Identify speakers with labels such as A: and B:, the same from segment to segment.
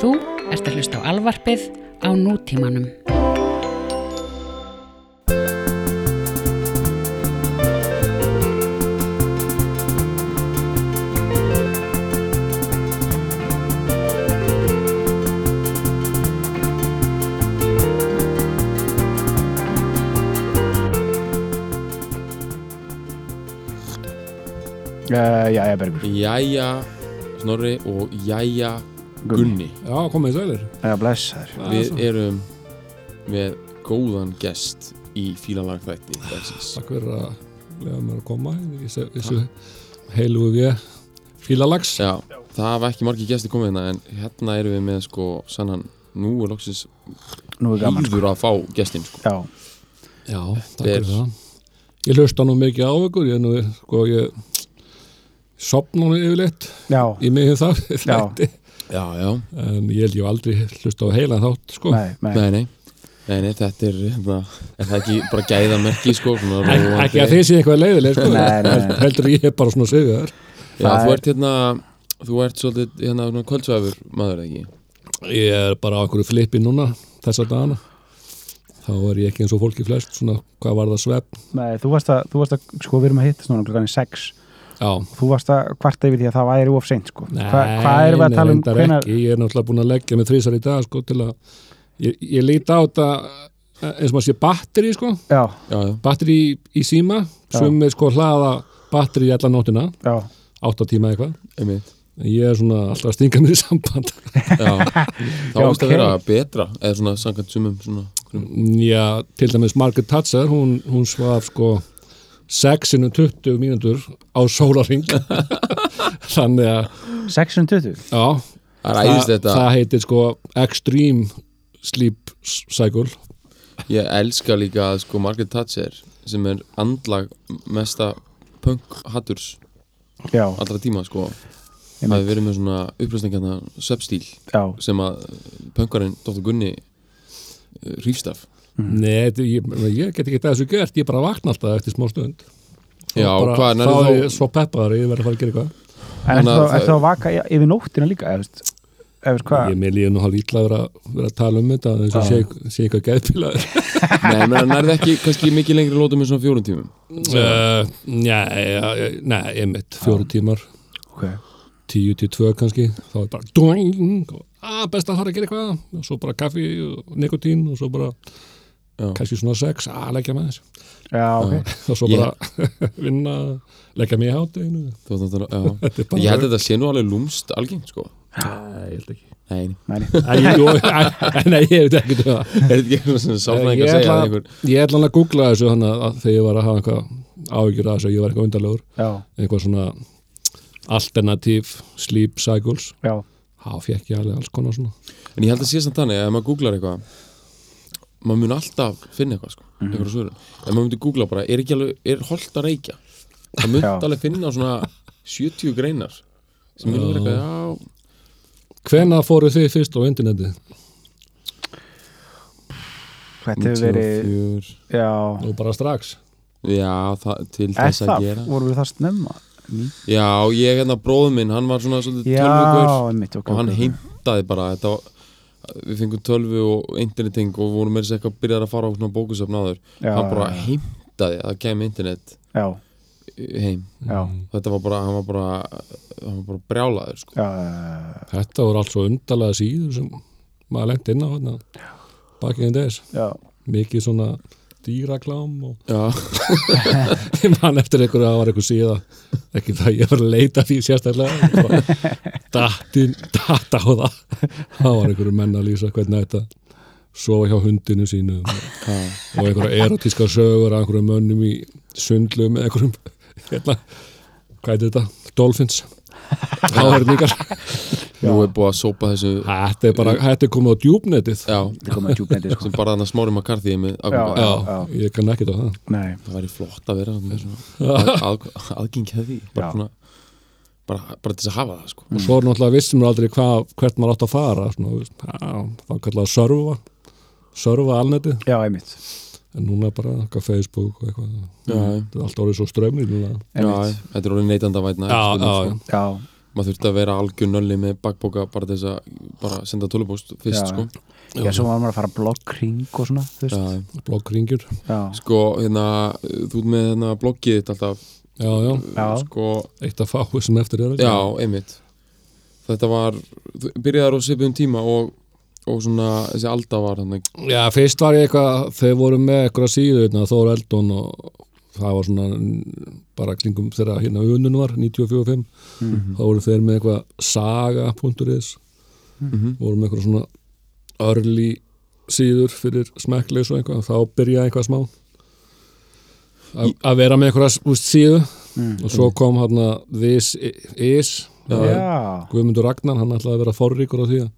A: Þú ert að hlusta á alvarpið á nútímanum.
B: Uh, já, já, Bergur.
C: Jæja Snorri og Jæja Gunni
D: Já, komið sælir
B: Já, blessaður.
C: Við erum með góðan gest í fílalag þætti dagsins.
D: Takk fyrir að lega mér að koma í þessu- þessu heilu við fílalags
C: Já, það hafa ekki margir gesti komið hérna en hérna erum við með sko sannan nú er loksins
B: Nú er gaman, sko.
C: hýður að fá gestin sko
B: Já,
D: Já, takk
C: Vel.
D: fyrir það Ég hlusta nú mikið á ykkur ég, er nú, sko, ég sopna nú yfirleitt
B: já,
D: í mig það
B: Já.
C: Já, já,
D: en ég held ég hef aldrei hlusta á heila þátt sko.
B: nei, nei.
C: nei, nei Nei, nei, þetta er, hérna, er það ekki bara gæðamerki sko svona
D: Ek,
C: róandi-
D: Ekki að þið sé eitthvað leiðileg sko.
B: Nei, nei, nei.
D: heldur ég er bara svona sigðar
C: Já,
B: Það er-
C: þú ert hérna, þú ert svolítið hérna, svona kvöldsvæfur maður ekki
D: Ég er bara á einhverju flipi núna þessa dagana þá er ég ekki eins og fólki flest svona hvað var það svepp
B: nei þú, varst að, þú varst að, sko, við erum að hittast núna klukkan í sex.
D: Já,
B: Þú varst að kvarta yfir því að það væri of seint, sko.
D: Nei,
B: Hva, hvað erum við að tala um?
D: reyndar ekki, ég er náttúrulega búin að leggja með þrísar í dag sko til að ég, ég líti á þetta eh, eins og maður sé batteri sko
B: Já,
C: Já, já,
D: batteri í, í síma sem er sko hlaða batteri í alla nóttina
B: já,
D: átta tíma eitthvað
C: einmitt
D: En ég er svona alltaf að stinga mér í samband
C: Já, þá
B: Já,
C: veist að
B: ok.
C: vera betra eða svona samkvæmt sumum svona, einhverjum-
D: Já, til dæmis Margaret Thatcher hún, hún svaf sko 6 innum 20 mínútur á sólaring þannig að
B: 620.
D: já,
C: Það er æðist þetta,
D: það heitir sko Extreme Sleep Cycle
C: ég elska líka að sko Margaret Thatcher sem er andlag mesta punk hatturs
B: Já,
C: allra tíma sko
B: Einmitt.
C: hafi verið með svona upplýsningarna svefstíl
B: já,
C: sem að punkarinn Dr. Gunni eh, hrífst af
D: Nei, þetta- ég, ég get ekki þetta þessu gert, ég bara vakna alltaf eftir smá stund
C: Já,
D: bara,
C: hvað,
D: þá
C: nærðu
D: er
C: þá
D: ég svo peppaður, ég verður að fara að gera eitthvað
B: en ertu
C: Þannig að
B: þá- ertu
C: það-
B: þá að vaka í- yfir nóttina líka, eða veist, eða veist hvað?
D: Ég mér líður nú hálf ítla að vera, vera að tala um þetta þess að sé, sé eitthvað geðpilaður
C: Nei, menn nærði ekki kannski mikið lengri lótum en svona fjórum tímum
D: uh, Nei, nei, einmitt, fjóru tímar
B: Ok,
D: tíu til tvö kannski þá er bara dóing og að best að fara að gera eitthvað og svo bara kaffi og nikotín og svo bara
C: Já.
D: kannski svona sex að leggja með þess
B: já, ok.
D: og svo
C: Ég-
D: bara vinna leggja mig í hátteginu
C: Þú veist að tala,
D: Þetta er
C: já
D: bara-
C: Ég held að þetta sé nú alveg lúmst algengt sko
D: Nei, ég held ekki
C: Nei,
B: Nei, nei.
D: Nei, ég hef ekki um það
C: er þetta ekki svona
D: Ég
C: sáfnæðing að segja
D: ætla
C: að
D: ég
C: einhver
D: ætla hann að googla þessu þannig að- að þegar ég var að hafa eitthvað áhyggjur að þessu að ég var eitthvað undarlegur
B: já,
D: eitthvað svona alternative sleep cycles
B: já,
D: þá fekk ég alveg alls konar svona
C: En ég held að sé samt þannig að ef maður googlar eitthvað maður mun alltaf finna eitthvað sko,
B: Mhm.
C: mm. eitthvað svöru ef maður myndi googla bara, er ekki alveg, er holdt að reykja það myndi
B: Já.
C: alveg finna svona 70 greinar sem myndi vera eitthvað, já,
D: Hvenær fóruð þið fyrst á internetið
B: þetta hefur verið,
C: 94
B: já.
D: og bara strax
C: já, það, til
B: Er
C: þess að
B: það,
C: gera
B: voru við það snemma?
C: já, ég hérna bróðum minn, hann var svona svolítið
B: Já,
C: tölvugur
B: einmitt, ok.
C: og hann
B: ok, ok.
C: heimtaði bara þetta var við fengum tölvu og interneting og vorum meira sér eitthvað byrjar að fara á svona bókusöfn áður
B: Já,
C: hann bara
B: já, já.
C: heimtaði að það kemur internet
B: Já,
C: heim
B: já,
C: þetta var bara, hann var bara hann var bara brjálaður sko
B: já, já,
D: Þetta voru alls svo undarlega síður sem maður lengt inn á hérna bakið en þess,
B: já, já.
D: mikið svona dýraklám og
C: já,
D: ég man eftir einhverju að það var einhver síða ekki það ég var að leita því sérstaklega bara dattin, datta á það það var einhverju menn að lýsa hvernig þetta sofa hjá hundinu sínu og einhverja erotíska sögur að einhverjum mönnum í sundlu með einhverjum hérna, hvað er þetta? Dolphins háherningar
C: nú er búið að sópa þessu
D: Þetta er bara, þetta er komið á djúbnetið
C: já,
B: Þetta komið að djúbnendi, sko.
C: sem bara þannig að smári McCarthy er með aðgang.
B: Já.
D: Já, ég kann ekki á það
B: Nei,
C: það væri flott að vera svona með svona að, að, aðgeng hefði bara,
B: Já.
C: svona, bara, bara til þess að hafa það sko
D: Og svo er náttúrulega vissum við aldrei hvað, hvert maður átt að fara svona, þú veist, á, þá kallaði að sörfa sörfa alnetið,
B: já, einmitt,
D: en núna bara eitthvað Facebook og eitthvað
C: já,
D: Þetta er allt orðið svo strömmir
C: já,
D: núna
B: einmitt.
C: þetta er orðin neytanda vætna
D: Já, já,
B: Já,
C: maður þurfti að vera algjör nölli með bakbóka bara til þess að bara senda tölupóst
B: Já,
C: fyrst sko
B: Já, svo var maður að fara blokkring og svona, þú veist.
C: Já,
D: blokkringjur
B: Já,
C: sko, hérna, þú ert með hérna, bloggið þitt alltaf
D: já, já,
B: Já.
C: sko,
D: eitt að fáu sem eftir er ekki?
C: já, einmitt þetta var, þú byrjaðar á svipum tíma og, og svona þessi alda var hann
D: já, fyrst var ég eitthvað þau voru með eitthvað síðu Þóra Eldon og það var svona n- bara klingum þegar hérna unun var 94-5 þá voru þeir með eitthvað saga.is
B: Mhm.
D: voru með eitthvað svona örli síður fyrir smekkleis og eitthvað þá byrjaði eitthvað smá Að- að vera með eitthvað úst síðu og svo kom hérna this is það er-
B: já,
D: Guðmundur Ragnar, hann ætlaði að vera forríkur á því að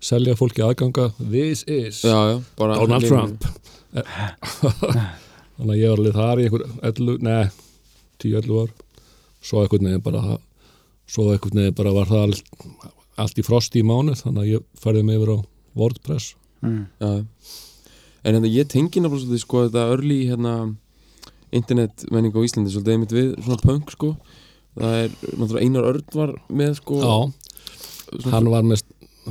D: selja fólki aðganga This is
C: já, já, bara hérna
D: Donald Trump Eh, Þannig að ég var alveg þar í einhver 11, nei, 10-11 ár svo einhvern veginn bara svo einhvern veginn bara var það allt, allt í frosti í mánuð þannig að ég færði mig yfir á WordPress
C: já, já. en hérna, ég tengi náttúrulega svolítið, sko, þetta örli hérna, internet menning á Íslandi svolítið einmitt við, svona punk sko það er, náttúrulega Einar Örn var með sko
D: Já, hann var með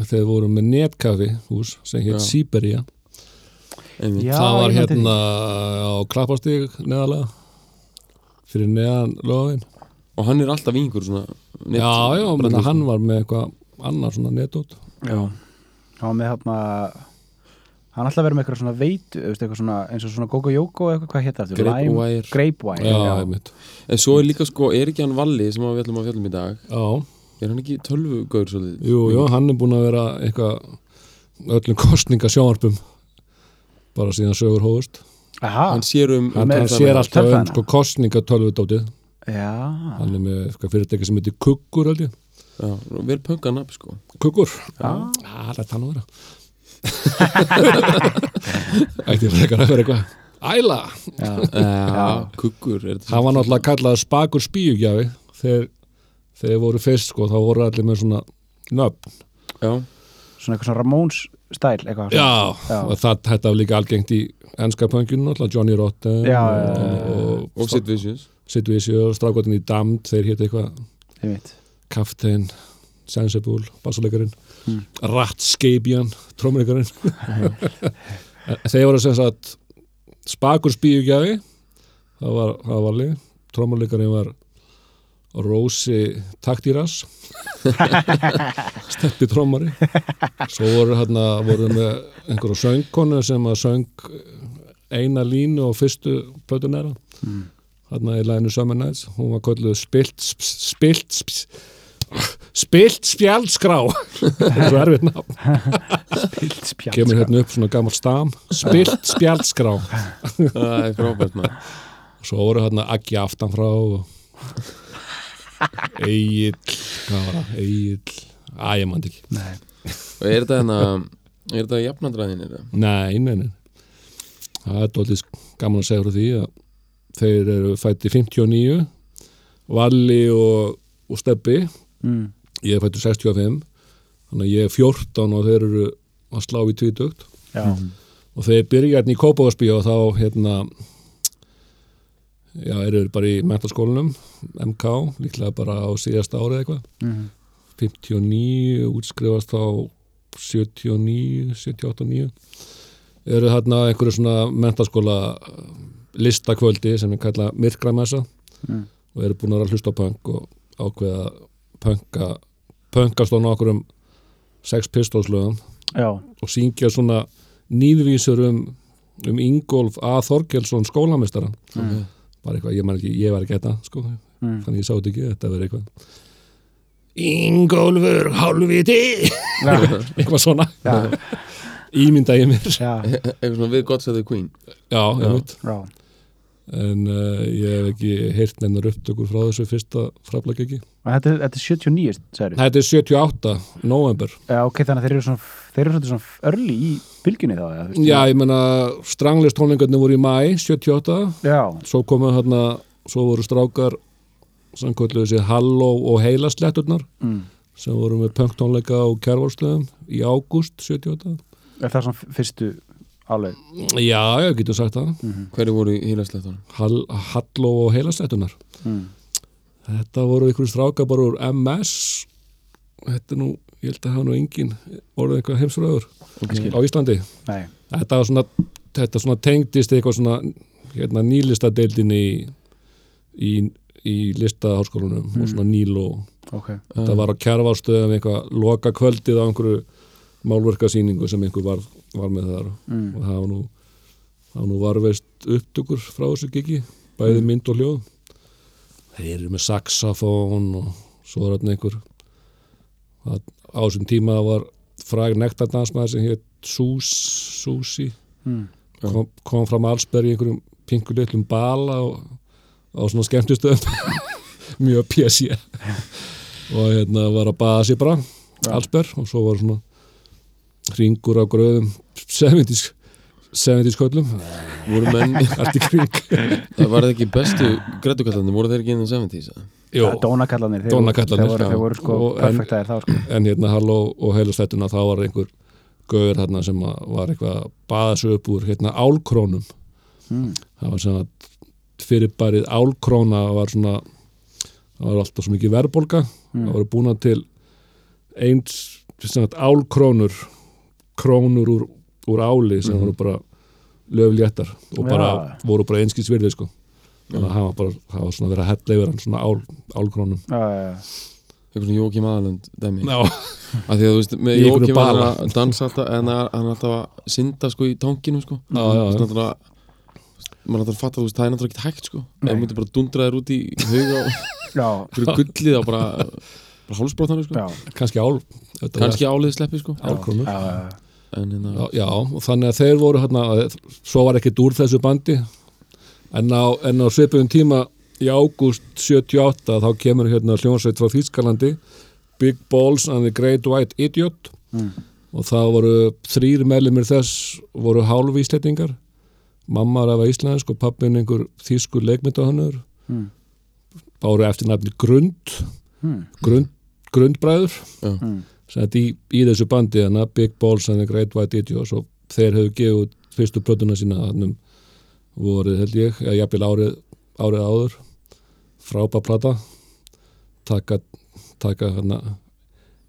D: þegar við vorum með netkafi hús sem hétt
C: Já.
D: Siberia
C: einmitt,
B: Já,
D: það var
B: ég man til
D: hérna á Klappastík neðalega fyrir neðan lögin
C: og hann er alltaf í einhver svona net-
D: já, já, menn
C: brandar,
D: að hann
C: sko.
D: var með eitthvað annar svona netót
B: já. Hann var með þarna, hann ætlaði að vera með eitthvað svona veit, veist, eitthvað svona, eins og svona Gogo Jóko, eitthvað, hvað hétt það? aftur?
C: Grape
B: Lime-
C: Wire.
B: Grape Wire,
D: já,
B: já.
D: einmitt
C: en svo er líka sko, er ekki hann Valli sem við ætlum að fjallum í dag
D: já,
C: er hann ekki tölvugaur svolítið
D: jú, jú, hann er búin að vera eitthvað öllum kostningasjónvarpum bara síðan sögur hóðust
B: Aha,
C: hann sér um
D: hann,
B: Með-
D: hann sér alltaf um
B: Tölfræðina.
D: sko kostningatölvudótið
B: já,
D: hann er með eitthvað fyrirtæki sem heitir Kukkur held ég.
C: já, verð pöngan upp sko
D: Kukkur, það er þetta nú vera ætti frekar að vera eitthvað Æla,
B: já,
C: já, Eh, kukkur er þetta
D: hann var náttúrulega kallað spakur spíugjafi þegar þegar voru fyrst sko, þá voru allir með svona nöfn
C: já,
B: svona eitthvað svona Ramóns stæl, eitthvað. svona.
D: Já,
B: Já.
D: og það, þetta var líka algengt í ennska pönginu, alltaf Johnny Rotten
B: Já, já,
D: og,
B: já,
D: og,
C: og
D: og
C: Sid Vicious
D: Situisio og strákotinn í Damd, þeir hétt eitthvað
B: Einmitt.
D: Kaftin, Sensible, bassuleikarinn Ratskabian, trómuleikarinn Þeir voru sem sagt Spakur spíugjafi það var, það var lið trómuleikarinn var Rósi Taktíras steppi trómari svo voru hérna voru með einhverju söngkonu sem að söng eina línu og fyrstu plötunera mm. hérna í læginu Summer Nights hún var kölluð spilt sp- spilt sp- spilt spjaldskrá svo erfitt nafn
B: Pilt spjall.
D: kemur hérna upp svona gammal stam spilt spjaldskrá
C: það er frábært maður
D: svo voru hérna Aggi aftanfrá og Egil hvað var það? Egil Æ, ég mann ekki
B: Nei.
C: og er þetta hérna, er þetta jafnandræðin er það
D: Nei, nei, nei. Það er dólið gaman að segja frá því að þeir eru fætti 59, Valli og, og Stebbi,
B: Mm.
D: ég er fættur 65, þannig að ég er 14 og þeir eru að slá í tvítugt
B: Já,
D: og þeir byrja hérna í Kópavarsby og þá hérna, já, eru þeir bara í mentaskólanum, MK, líklega bara á síðasta ári eða eitthvað.
B: mm.
D: 59, útskrifast á 79, 78, 9 eru þarna á einhverju svona mentaskóla eh, listakvöldi sem er kallað myrkramessa
B: Mm.
D: og eru búin að vera að hlusta á punk og ákveða að punka punkast á nokkurum sex pistolslögum
B: já,
D: og syngja svona nýðvísur um, um Ingolf A. Þorgelsson skólamistara
B: Mm.
D: bara eitthvað, ég, man ekki, ég var ekki þetta sko,
B: Mm.
D: þannig ég sá þetta ekki, þetta verið eitthvað Ingólfur hálfviti eitthvað svona,
B: já,
D: ímynda ég mér já,
B: já,
C: eitthvað svona við gott sæðið Queen
D: ég
C: Já.
D: veit
B: já.
D: en uh, ég hef ekki heyrt neinar upptökur frá þessu fyrsta fraflag ekki
B: Og Þetta, er- þetta er 79, segir
D: þetta er 78, november
B: Já, ok, þannig að þeir eru svona, þeir eru svona, svona örli í bylginni þá, eða, þú veist?
D: já, ég menna, stranglist tónlingarnir voru í mæ 78
B: Já,
D: svo komu hérna, svo voru strákar sem kvölduðu sér Halló og Heilasletturnar
B: Mm.
D: sem voru með punktónleika á kjærvalstöðum í ágúst 78
B: er það svona fyrstu áleg?
D: já, ég getur sagt það
B: Mm.
C: hverju voru í hýraslættunum
D: Hall, Halló og Heilasletturnar
B: Mm.
D: þetta voru ykkur strákar bara úr MS þetta er nú, ég held að hafa nú engin orðið einhver heimsröður
C: okay.
D: á Íslandi
B: Nei,
D: þetta, var svona, þetta svona tengdist eitthvað svona hérna, nýlista deildinni í, í, í listaháskólanum og svona nýl og
B: ok
D: þetta var á kjærvarstöðum eitthvað loka kvöldið á einhverju málverkasýningu sem einhver var, var með þar
B: Mm.
D: og það var nú, það var nú varveist upptökur frá þessu gigi
B: Mm.
D: bæði mynd og hljóð þeir eru með saxafón og svo er þarna einhver það, á þessum tíma var fræg nektadansmaður sem hétt Sús, Súsi
B: mm.
D: kom, kom fram allsberg í einhverjum pingu litlum bala og á svona skemmtistöðum mjög pjæsi og hérna var að baða sér bara allsberg og svo var svona hringur á gröðum 70s 70s köllum
C: voru menn,
D: allt í kring
C: það var það ekki bestu grætukallandi, voru þeir ekki innan 70s eða?
D: Jó,
B: Það er Dónakallanir, þeir,
D: Dónakallarnir,
B: þeir, voru,
D: já.
B: þeir voru sko
D: Og- en-
B: perfektaðir þá sko
D: en hérna halló og heilastættuna þá var einhver gauður þarna sem að var eitthvað að baða sig upp úr hérna álkrónum
B: mm.
D: það var sem að fyrirbærið álkróna var svona það var alltaf svo mikið verðbólga það voru búna til eins sem að álkrónur krónur úr, úr áli sem voru bara löfléttar og bara,
B: Já.
D: voru bara einskis virði sko þannig að hafa bara, hafa svona verið að hella yfir hann svona ál, álkrónum
B: já, já, já.
C: eitthvað svona Jókim Aðalund dæmi
D: Ná,
C: af því að þú veist, með
D: Í einhverju
C: Jókim hann er
D: bala.
C: að dansa alltaf en hann er- hann er alltaf að synda sko í tankinu sko
D: Já, já, já.
C: Þú veist, náttúrulega maður alltaf að fatta, þú veist, það er náttúrulega ekki hægt sko ef
B: Nei.
C: myndir bara dundra þér út í huga og
B: já,
C: fyrir gullið á bara, bara hálsbrótanu sko
B: já,
D: kannski ál þetta
C: kannski álið sleppi sko
D: var
B: já,
D: álkrónur
B: já.
C: en
D: Já,
C: hérna,
D: já, og þannig að þeir voru hérna, svo var ekkert úr þessu bandi en á, en á svipuðum tíma í ágúst 78 þá kemur hérna hljónsveit frá Þýskalandi Big Balls and the Great White Idiot
B: Mm.
D: og það voru þrýr meðlumir þess voru hálf íslendingar mamma er af íslensk og pappin einhver þýskur leikmyndahönnur
B: Mm.
D: báru eftir nafni Grund
B: Mm.
D: Grund, Grundbræður
C: Já.
D: mm. í, í þessu bandi hana, Big Balls and the Great White Idiots og þeir hefðu gefið út fyrstu plötuna sína hannum voruð held ég eða jafnvel árið, árið áður frábær plata taka, taka hana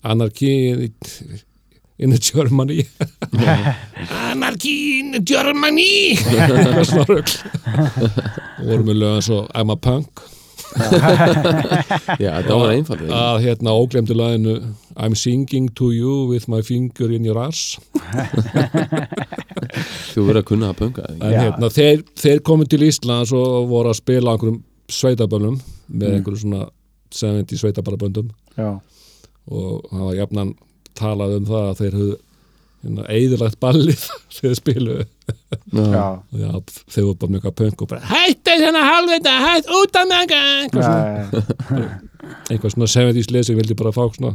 D: anarki in, in the Germany anarki in the Germany og svona rögl og voru með lögum svo I'm a punk
C: já, þetta var einfalt eða
D: að hérna óglemdi laginu I'm singing to you with my finger in your ass
C: ekki. þú verður að kunna að pönga eða
D: en
B: Já.
D: hérna þeir, þeir komu til Íslands og voru að spila á einhverjum sveitabönnum með
C: Mm.
D: einhverjum svona 70 sveitabaraböndum
B: já,
D: og það var jafnan talað um það að þeir höfðu hérna, eðilagt ballið þegar þeir spiluðu
C: ekki.
B: já,
C: Já.
D: og já, þeir voru bara mjög að pönk og bara hætti þennan halvvita, hætt út af mega
B: já,
D: einhver svona, einhver svona 70s lið sem vildi bara fá svona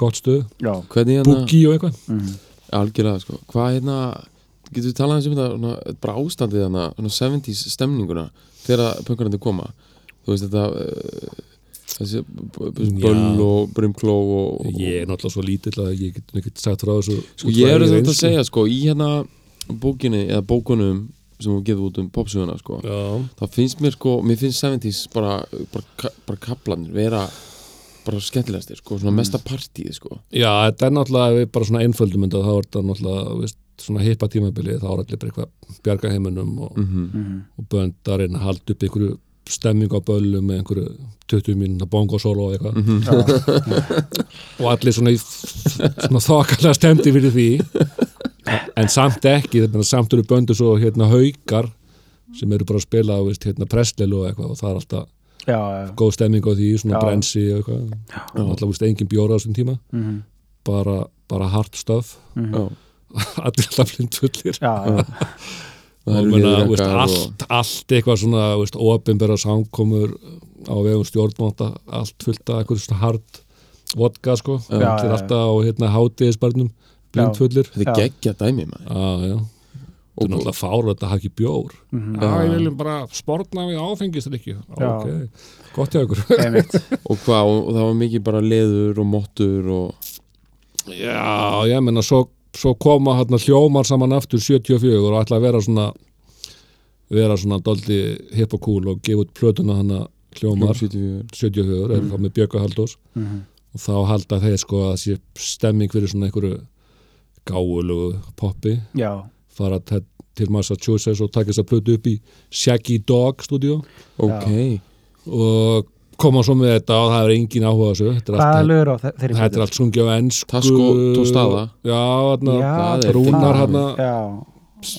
D: gott stuð,
B: já,
C: hvernig hérna,
D: búki og eitthvað
B: mm.
C: algjörlega sko hvað hérna, getur við talað eins um þetta svona, bara ástandið hérna, svona 70s stemninguna þegar pöngarandi koma þú veist þetta uh, þessi b- b-
D: Já.
C: böll og brimkló og, og
D: Ég er náttúrulega svo lítill að ég get ekki sagt frá þessu
C: sko ég er þetta að segja sko í hérna bókinni eða bókunum sem við getum út um popsuguna sko
D: Já,
C: það finnst mér sko, mér finnst 70s bara, bara, ka- bara kaplanir vera bara skemmtilegastir sko, svona mesta partíð sko
D: já þetta er náttúrulega við bara svona einföldum en þá er þetta náttúrulega veist, svona hippa tímabili þá er allir bara eitthvað bjarga heiminum og, mm. og bönd að reyna að halda upp einhverju stemming á böllum með einhverju 20 mínúna bongosólo og eitthvað og allir svona, í f- svona þokkalega stemdi fyrir því en samt ekki, þannig að samt eru böndu svo hérna haukar sem eru bara að spila á veist, hérna pressleilu og eitthvað og það er alltaf
B: já, já,
D: góð stemming á því, svona
B: Já.
D: brensi og eitthvað og alltaf veist engin bjóra á þessum tíma
B: Mhm.
D: bara, bara hard stuff
C: já,
D: allir alltaf blindfullir
B: já, já,
C: það
D: og
C: eru
D: menna, veist,
C: niðurjakkar og-
D: allt, allt eitthvað svona veist, ofinbera samkomur á vegum stjórnmáta allt fullt af einhverju svona hard vodka sko,
B: já,
D: allir
B: já.
D: alltaf á hérna hátíðisbarnum blindfullir
C: þetta er
B: Já.
C: geggja dæmi maður
D: ah, já Þetta er
C: Og-
D: náttúrulega fárlega að hafa ekki bjór. Mm
B: Mhm.
D: -hmm. Já, ég viljum bara sportna við áfengistrykju.
B: Já.
D: Ok, gott hjá ykkur.
B: einmitt
C: og hvað, og, og það var mikið bara leður og mottur og
D: Já, ég menna svo, svo koma hérna hljómar saman aftur 74 og ætla að vera svona vera svona doldi hipp og cool og gefa út plötuna hana hljómar
C: 74
D: Mhm. 74, er það með Björgu Haldós og þá halda þeir sko að sé stemming fyrir svona einhverju gáulugu poppi
B: já,
D: fara te- til Massachusetts og taka þess að plötu upp í Shaggy Dog studio
C: ok,
D: og koma svo með þetta og það er engin áhuga á þessu þetta er
B: hvaða
D: allt,
B: lögur á þe- þeirri
D: þetta er allt sungið á ennsku
C: Tasco Tostada.
D: já, þarna,
B: Já,
C: það er fínt.
D: Rúnar hérna
B: já,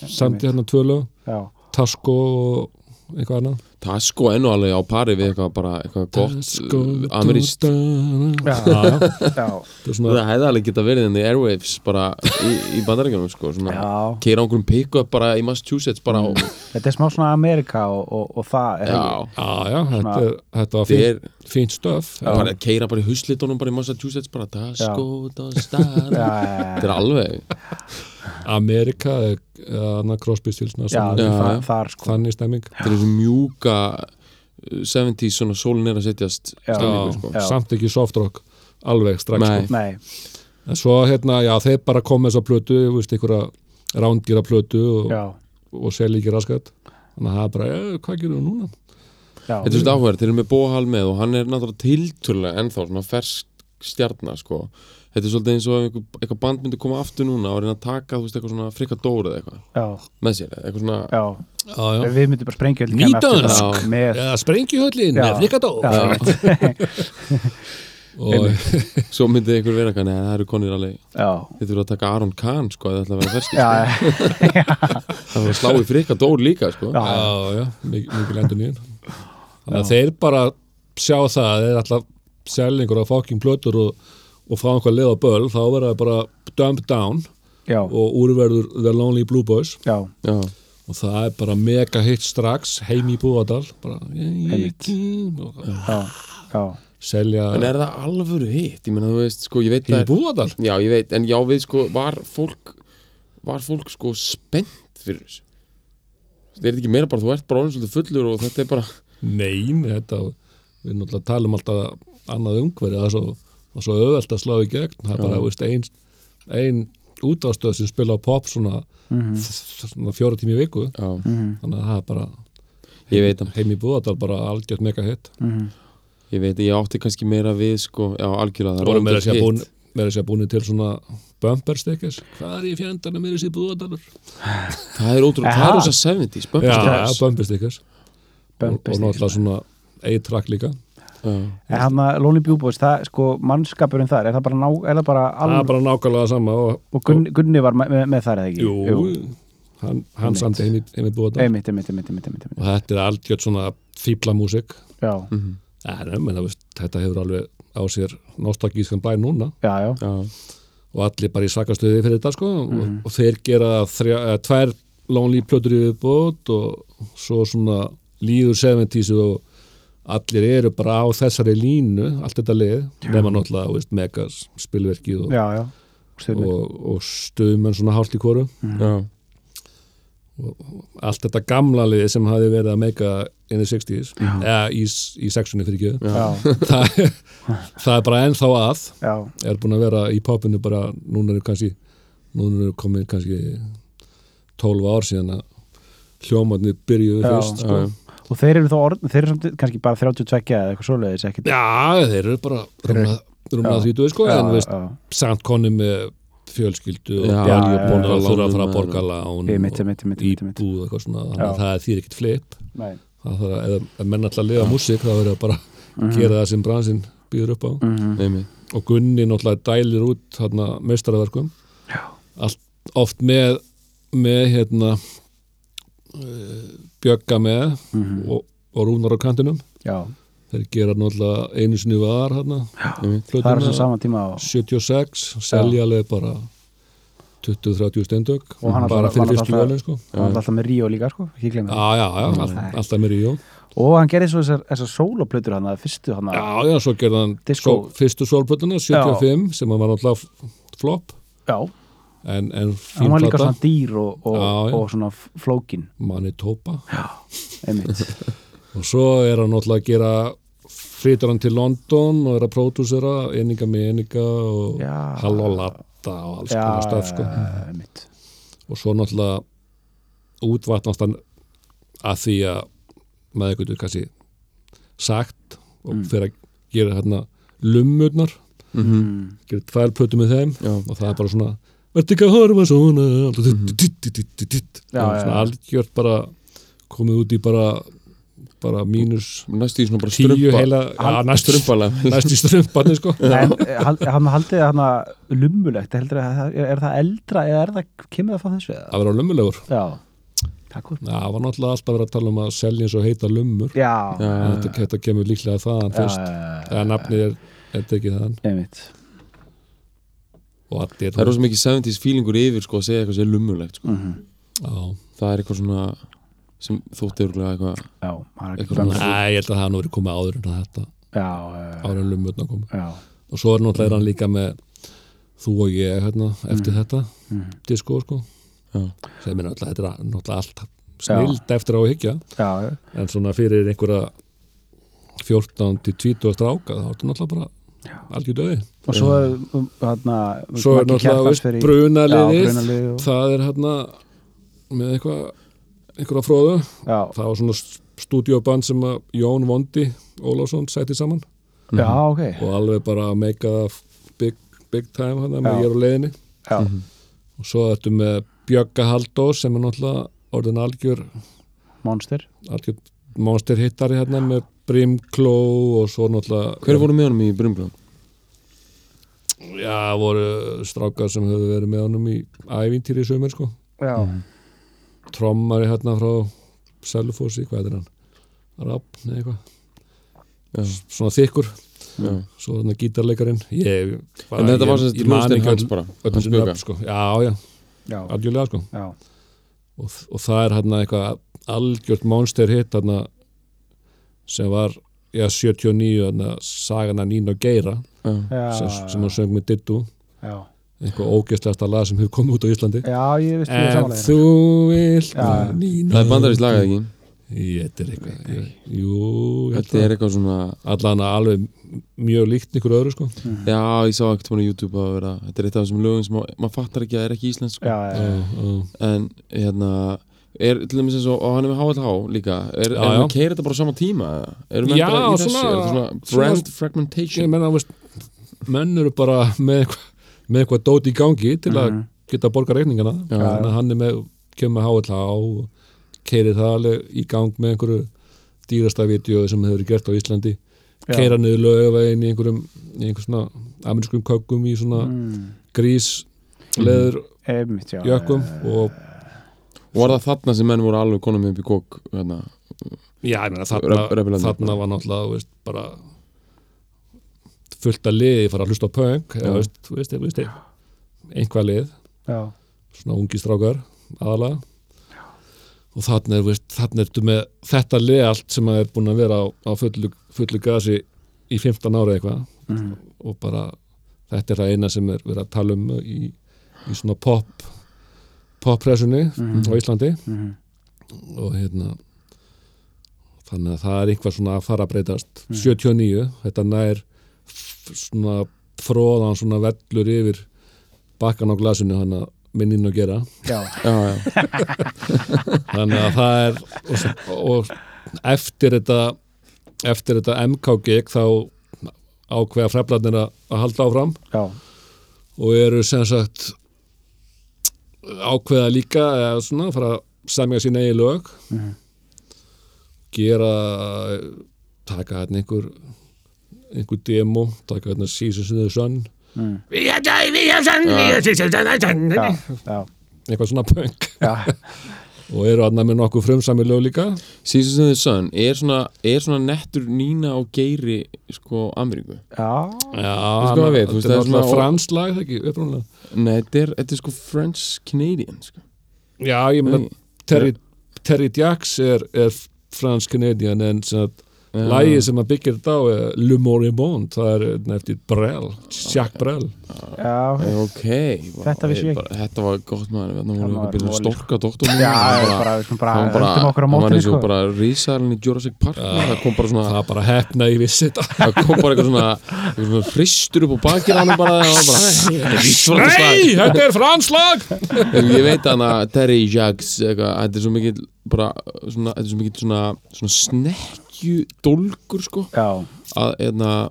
D: samt í hérna tvölu
B: já,
D: Tasko og eitthvað annað
C: það er sko enn og alveg á pari við eitthvað bara eitthvað gott uh, amerískt
B: já,
D: Já, já,
B: já,
D: þetta er svona
C: það hefði alveg geta verið enn í Airwaves bara í, í bandarækjunum sko, svona
B: já.
C: keira okkur um pick-up bara í Massachusetts bara og,
B: þetta er smá svona Amerika og, og, og það er
C: já,
D: Já, já, þetta, er- þetta var
C: þetta
D: fínt,
C: er
D: fínt stöf
C: bara keira bara í huslitunum bara í Massachusetts bara Tasco Tostada
B: já,
C: þetta er alveg,
D: Amerika, Anna Crosby Stilsna
B: já,
C: Já,
B: það,
C: já.
B: þar sko
D: þannig stemming
C: þetta er þessi mjúka uh, 70s svona sólin er að setjast
B: Já.
C: stemningu, sko.
D: já. samt ekki soft rock alveg strax
C: Nei.
D: sko.
B: nei,
D: en svo hérna, já, þeir bara koma þess að plötu þú veist, einhverja rándýra plötu og,
B: já,
D: og selja ekki raskat þannig að það er bara, eh, hvað gerum við núna
B: já
C: Þetta er svolítið áhverð, þeir eru með Bóhal með og hann er náttúrulega tilturlega ennþá svona fersk stjarnar sko Þetta er svolítið eins og ef einhver- eitthvað band myndi koma aftur núna og reyna að taka þú veist eitthvað svona frikadór eða eitthvað
B: já,
C: með sér eða eitthvað svona
B: já,
D: já,
B: við myndum bara sprengja öll í
D: Nýta
B: kæmi eftir
D: hana.
B: það með,
D: já, sprengi höllin,
B: Já.
D: frikadó
B: Já.
D: og
C: Svo myndi einhver vera eitthvað, neða það eru konir alveg
B: já,
C: Þið þurfa að taka Aron Kahn sko eða ætla að vera ferski
B: já,
C: sko. Það var að slá í frikadór líka sko
B: já, já,
D: já, já, mik mikil endur nýjum þannig að þeir bara sjá það, þeir alltaf selja einhverja fokking plötur og, og fá einhver leið á böl, þá verða það bara dump down
B: já,
D: og úrverður The Lonely Blue Boys
B: já,
C: Já,
D: og það er bara mega hitt strax heim í Búadal bara, ég, ég
B: Einmitt.
D: kem og
B: já, já,
D: selja
C: en er það alvöru hitt? Ég meina þú veist sko, ég veit
D: heim í
C: að
D: Búadal
C: Já, ég veit, en já við sko, var fólk var fólk sko spennt fyrir þessu Það er þetta ekki meira bara, þú ert bara orðin svolítið fullur og þetta er bara
D: nein, þetta við náttúrulega talum alltaf annað umhverju það er svo, það er svo öðvelt að slá í gegn það er bara, veist, ein, ein útástöð sem spila á pop svona,
C: Mhm.
D: svona fjóra tími í viku
C: Já,
D: þannig að það er bara
C: ég veit það,
D: heim í Búðardal bara algjört mega hitt
C: ég veit að ég átti kannski meira við sko, já algjörlega
D: það
C: það
D: voru meira að
C: ótrúlega
D: segja
C: hitt.
D: búin meira að segja búin til svona bumper stickers hvað er í fjandana meira að segja Búðardalur
C: Það er ótrúlega, það
B: Aha.
C: er þess að 70s,
D: já,
C: bumper
D: ja,
C: stickers
D: bumper stickers og,
B: bömbist
D: og náttúrulega svona A-track líka
C: Já,
B: En hann að Lonely Blue Boys, það sko mannskapurinn þar, er það bara, ná, er það bara,
D: það
B: alv...
D: er bara nákvæmlega sama og,
B: og Gunni, Gunni var með, með þar eða ekki?
D: jú, hann, hann samti heim í, heim í Búðardal
B: Einmitt, einmitt, einmitt, einmitt, einmitt, einmitt.
D: og þetta er algjört svona fíblamúsik
B: Já,
D: Mhm. þetta hefur alveg á sér nostalgískan bæ núna
B: já, já, Mhm.
C: já,
D: og allir bara í sakastöði fyrir þetta sko og, og þeir gera þrjá, eða, tvær lonely plötur í viðbót og svo svona líður 70s og allir eru bara á þessari línu allt þetta lið, nema náttúrulega þú veist, megas spilverkið og,
B: já, já, stundum,
D: og, og stuðmenn svona hálft í kóru
C: já,
D: allt þetta gamla lið sem hafi verið að meika in the 60s, eða í, í sexunni fyrir ekki
B: já,
D: það, er- það er bara ennþá að
B: já,
D: er búin að vera í popinu bara núna eru kannski núna eru komið kannski 12 ár síðan að hljómatni byrjuðu
B: Já,
D: fyrst sko.
C: já.
B: og þeir eru þá orðin, þeir eru samt kannski bara 32 eða eitthvað svoleiðis, ekkert
D: já, þeir eru bara rúmlega rúmlega
B: Já.
D: þrítuðu sko, en veist,
B: já,
D: samt konni með fjölskyldu og
C: Já,
D: bjargi og
B: já,
D: bónur að
C: já.
D: þurfa að fara
C: Lánum
D: að borga lán
B: Ég
D: og
B: mitt, ég mitt, ég mitt, ég mitt,
D: íbúð og eitthvað svona, þannig
B: Já.
D: að það er þýr ekkit flip
B: Nei.
D: það þarf að, ef- ef menn alltaf að lifa músík þá verður það bara
B: Mhm.
D: að gera það sem bransinn býður upp á
C: neymi
D: og Gunni náttúrulega dælir út hérna, meistaraverkum Allt, oft með með hérna uh, Bjögga með
B: Mhm.
D: og, og Rúnar á kantinum
B: já,
D: þeir gera náttúrulega einu sinni var hérna,
B: það er
D: plötuna,
B: þessum saman tíma og,
D: 76 selja alveg bara 20-30 steindök
B: Og hann
D: bara
B: alltaf- hann
D: fyrir fyrstu
B: alltaf-
D: velin sko
B: og alltaf með Ríó líka, sko, ekki glemja
D: Já, já, já, all, alltaf mér í jó
B: og hann gerði svo þessar, þessar sóloplötur hann, fyrstu hann,
D: Já, já, svo gerði hann
B: Disco.
D: svo, fyrstu solbrötuna, 75 sem hann var náttúrulega f- flop
B: já,
D: en, en fín
B: hann var líka
D: plata.
B: svona dýr og, og,
D: Já, já.
B: og svona flókin,
D: Manitoba
B: einmitt,
D: og svo er hann náttúrulega að gera flytur hann til London og er að pródúsera eininga með eininga og
B: Já.
D: halló latta og alls konar stöf sko.
B: einmitt,
D: og svo náttúrulega útvatnast hann að því að maður
B: Mm.
D: eitthvað kannski sagt og fyrir að gera hérna lummurnar
B: Mm.
D: gerði tvær plötu með þeim
C: Já.
D: og það er bara svona verði ekki að horfa svona alltaf dutt, dutt, dutt, dutt, dutt, dutt.
B: Mhm. Já,
D: Og
B: já,
D: svona
B: já.
D: algjört bara komið út í bara bara mínus
C: næstu í svona bara
D: tíu
C: strumpa
D: heila já, næstu,
C: strumpalag
D: næstu strömbarni sko
B: En eh, hal- hann haldið það hana lumulegt, heldur að það, er, er það eldra eða er það, kemur það frá þessu eða?
D: að vera lömmulegur
B: Já, takk úr.
D: það var náttúrulega alltaf verið að tala um að selja eins og heita lömmur
B: Já, já,
D: En þetta, þetta kemur líklega þaðan fyrst
B: já,
D: eða nafnið er, er tekið þaðan
B: einmitt.
D: og allir
C: það er rosa mikið 70s feelingur yfir sko að segja eitthvað sem er lumulegt sko.
D: Já.
C: það er eitthvað svona sem þótti örgulega eitthvað
B: Já, það er ekki
C: Eitthvað
B: þannig.
D: Nei, ég held að það hafa nú verið komið áður en að þetta
B: Já, eh,
D: áður en lömmurna komið
B: já,
D: og svo er
B: Mm.
D: náttúrulega hann líka með þú og ég hérna, eftir þetta
B: Mm.
D: disco sko
C: Já.
D: sem er náttúrulega, þetta er náttúrulega allt snild eftir á að hyggja
B: já,
D: en svona fyrir einhverja 14 til 20 stráka þá er þetta náttúrulega bara algjör döði
B: og svo er um, þarna
D: svo er
B: Maggi
D: náttúrulega
B: Kjartans
D: veist,
B: fer í- Já,
D: brunaliðið
B: brunaliðið og-
D: það er hérna með eitthvað einhverja fróðu
B: Já,
D: það var svona stúdíoband sem að Jón Vondi Ólafsson sætti saman Mhm.
B: já, ok.
D: og alveg bara að make það big, big time hann
B: Já.
D: með ég er á leiðinni
B: Já,
D: Mhm. og svo þetta með Bjögga Haldó sem er náttúrulega orðin algjör,
B: monster.
D: algjör monster hittari hérna með Brimkló og svo náttúrulega
C: hver voru með honum í Brumblum?
D: Já, voru strákar sem höfðu verið með honum í ævintýri í sömur sko
B: Já,
D: trommari hérna frá Selfossi, hvað er hann? Rapp, neða eitthvað
C: Já.
D: svona þykkur,
C: Já.
D: svo þarna gítarleikarinn ég,
C: en þetta var
D: ég-
C: sem
D: ég
C: þetta
D: man ekki
C: hljóðstinn hans
D: öll-
C: bara
D: öll
C: hans
D: þessi nöfn,
C: bjöka
D: sko. já, já,
B: já,
D: algjörlega sko
B: já,
D: og, og það er hérna eitthvað algjört monster hit hérna sem var já, 79 hérna sagana Nín og Geira
C: Já.
B: já.
D: sem, sem hún söng með Dittu
B: Já,
D: eitthvað ógeðslegasta lag sem hefur komið út á Íslandi
B: já, ég veist
C: Eh,
B: því að
D: En
B: samanlega.
D: þú vilt
B: Já.
D: Nína
C: það er bandarist lagað ekki
D: Ég, þetta er eitthvað ég, Jú, ég held
C: þetta
D: það.
C: er eitthvað svona
D: allan að alveg mjög líkt ykkur öðru sko
C: já ég sá ekkert svona á YouTube að vera þetta er eitt af þessum lögum sem ma- maður fattar ekki að er ekki íslensk sko.
B: Já, já,
D: Já, já.
C: en hérna er til dæmis eins og, og hann er með HLH líka er, er
D: Já, já.
C: hann að keira þetta bara á sama tíma eða? eru menn
D: Já,
C: bara í þessu,
D: svona-
C: er þetta svona
D: svona-
C: brand
D: ég
C: fragmentation
D: menna, veist, menn eru bara með eitthvað, með eitthvað dót í gangi til að
B: Mhm.
D: geta að borga reikningana
C: Já.
D: þannig að hann er með, kemur með HLH og keirir það alveg í gang með einhverju dýrasta vídeo sem hefur verið gert á Íslandi
B: Já.
D: keira niður lögavegin í einhverjum í einhver svona amerískum kökum í svona
B: Mm,
D: grís leður
B: einmitt, já. Eh,
D: jökum og
C: og var það þarna sem menn voru alveg konum upp í kók hérna.
D: já, ég meina,
C: Röp-
D: þarna,
C: röpilandi.
D: þarna var náttúrulega þú veist, bara fullt að liði fara að hlusta á punk eða,
C: Já.
D: veist, þú veist, þú veist, einhvað lið
B: Já,
D: svona ungi strákar aðalega og þarna er, veist, þarna ertu með þetta lið allt sem að er búin að vera á, á fullu, fullu gasi í 15 ára eitthvað
B: Mhm.
D: og bara þetta er það eina sem er verið að tala um í, í svona pop poppressunni á Íslandi
B: mhm,
D: og hérna þannig að það er einhvað svona að fara að breytast
B: Mhm.
D: 79, þetta nær f- svona fróðan svona vellur yfir bakkan á glasinu hann að minninn að gera
B: já,
C: já, já.
D: þannig að það er og, s- og eftir þetta eftir þetta MK gig þá ákveða freflarnir að að halda áfram
B: já,
D: og eru sem sagt ákveða líka eða svona fara að semja sín eigi lög gera taka hérna einhver einhver demo, taka hérna Seasons in the Sun
B: Mm.
D: We are die, we are sun, we are seasons in the sun
B: já, já,
D: eitthvað svona punk
B: já,
D: og eru hérna með nokkuð frumsami lög líka
C: Seasons in the Sun er svona, er svona nettur Nína og Geiri sko Ameríku
B: já,
D: Já,
C: Sko,
D: hann-
C: við, þú veist,
D: þetta
C: það er
D: er náttúrulega
C: svona-
D: franslag, það ekki, upprúnlega
C: nei þetta er, þetta er sko French Canadian sko.
D: Já, ég meina, Terry, Terry Jacks er, er fransk kanadian en sem að
C: Já.
D: lægi sem að byggja þetta á er Le Moribond, það er hérna, eftir Brel, Jacques Brel
B: já,
C: Eh, ok vá,
B: Þetta vissi ég
C: bara- þetta var gott maður þannig
B: Hann
C: voru
B: var
C: að byrja að
B: móli,
C: storka doktor
B: já, það er bara, við skulum bara,
C: hann
B: höldum okkur
C: bara,
B: á
C: hann var
B: mótinu,
C: eins
B: sko. Ah.
C: og bara rísarinn í Jurassic Park það kom bara svona
D: það er bara hefna í vissi þetta
C: það kom bara eitthvað svona, eitthvað svona fristur upp á bakið á honum bara, og hann bara þetta er svona
D: Nei,
C: slag
D: þetta er franslag
C: ég veit hann að Terry Jacks eitthvað, þetta er svo mikið bara svona, þetta er svo mikið svona, svona snekkju dólgur sko
B: já,
C: að, einna,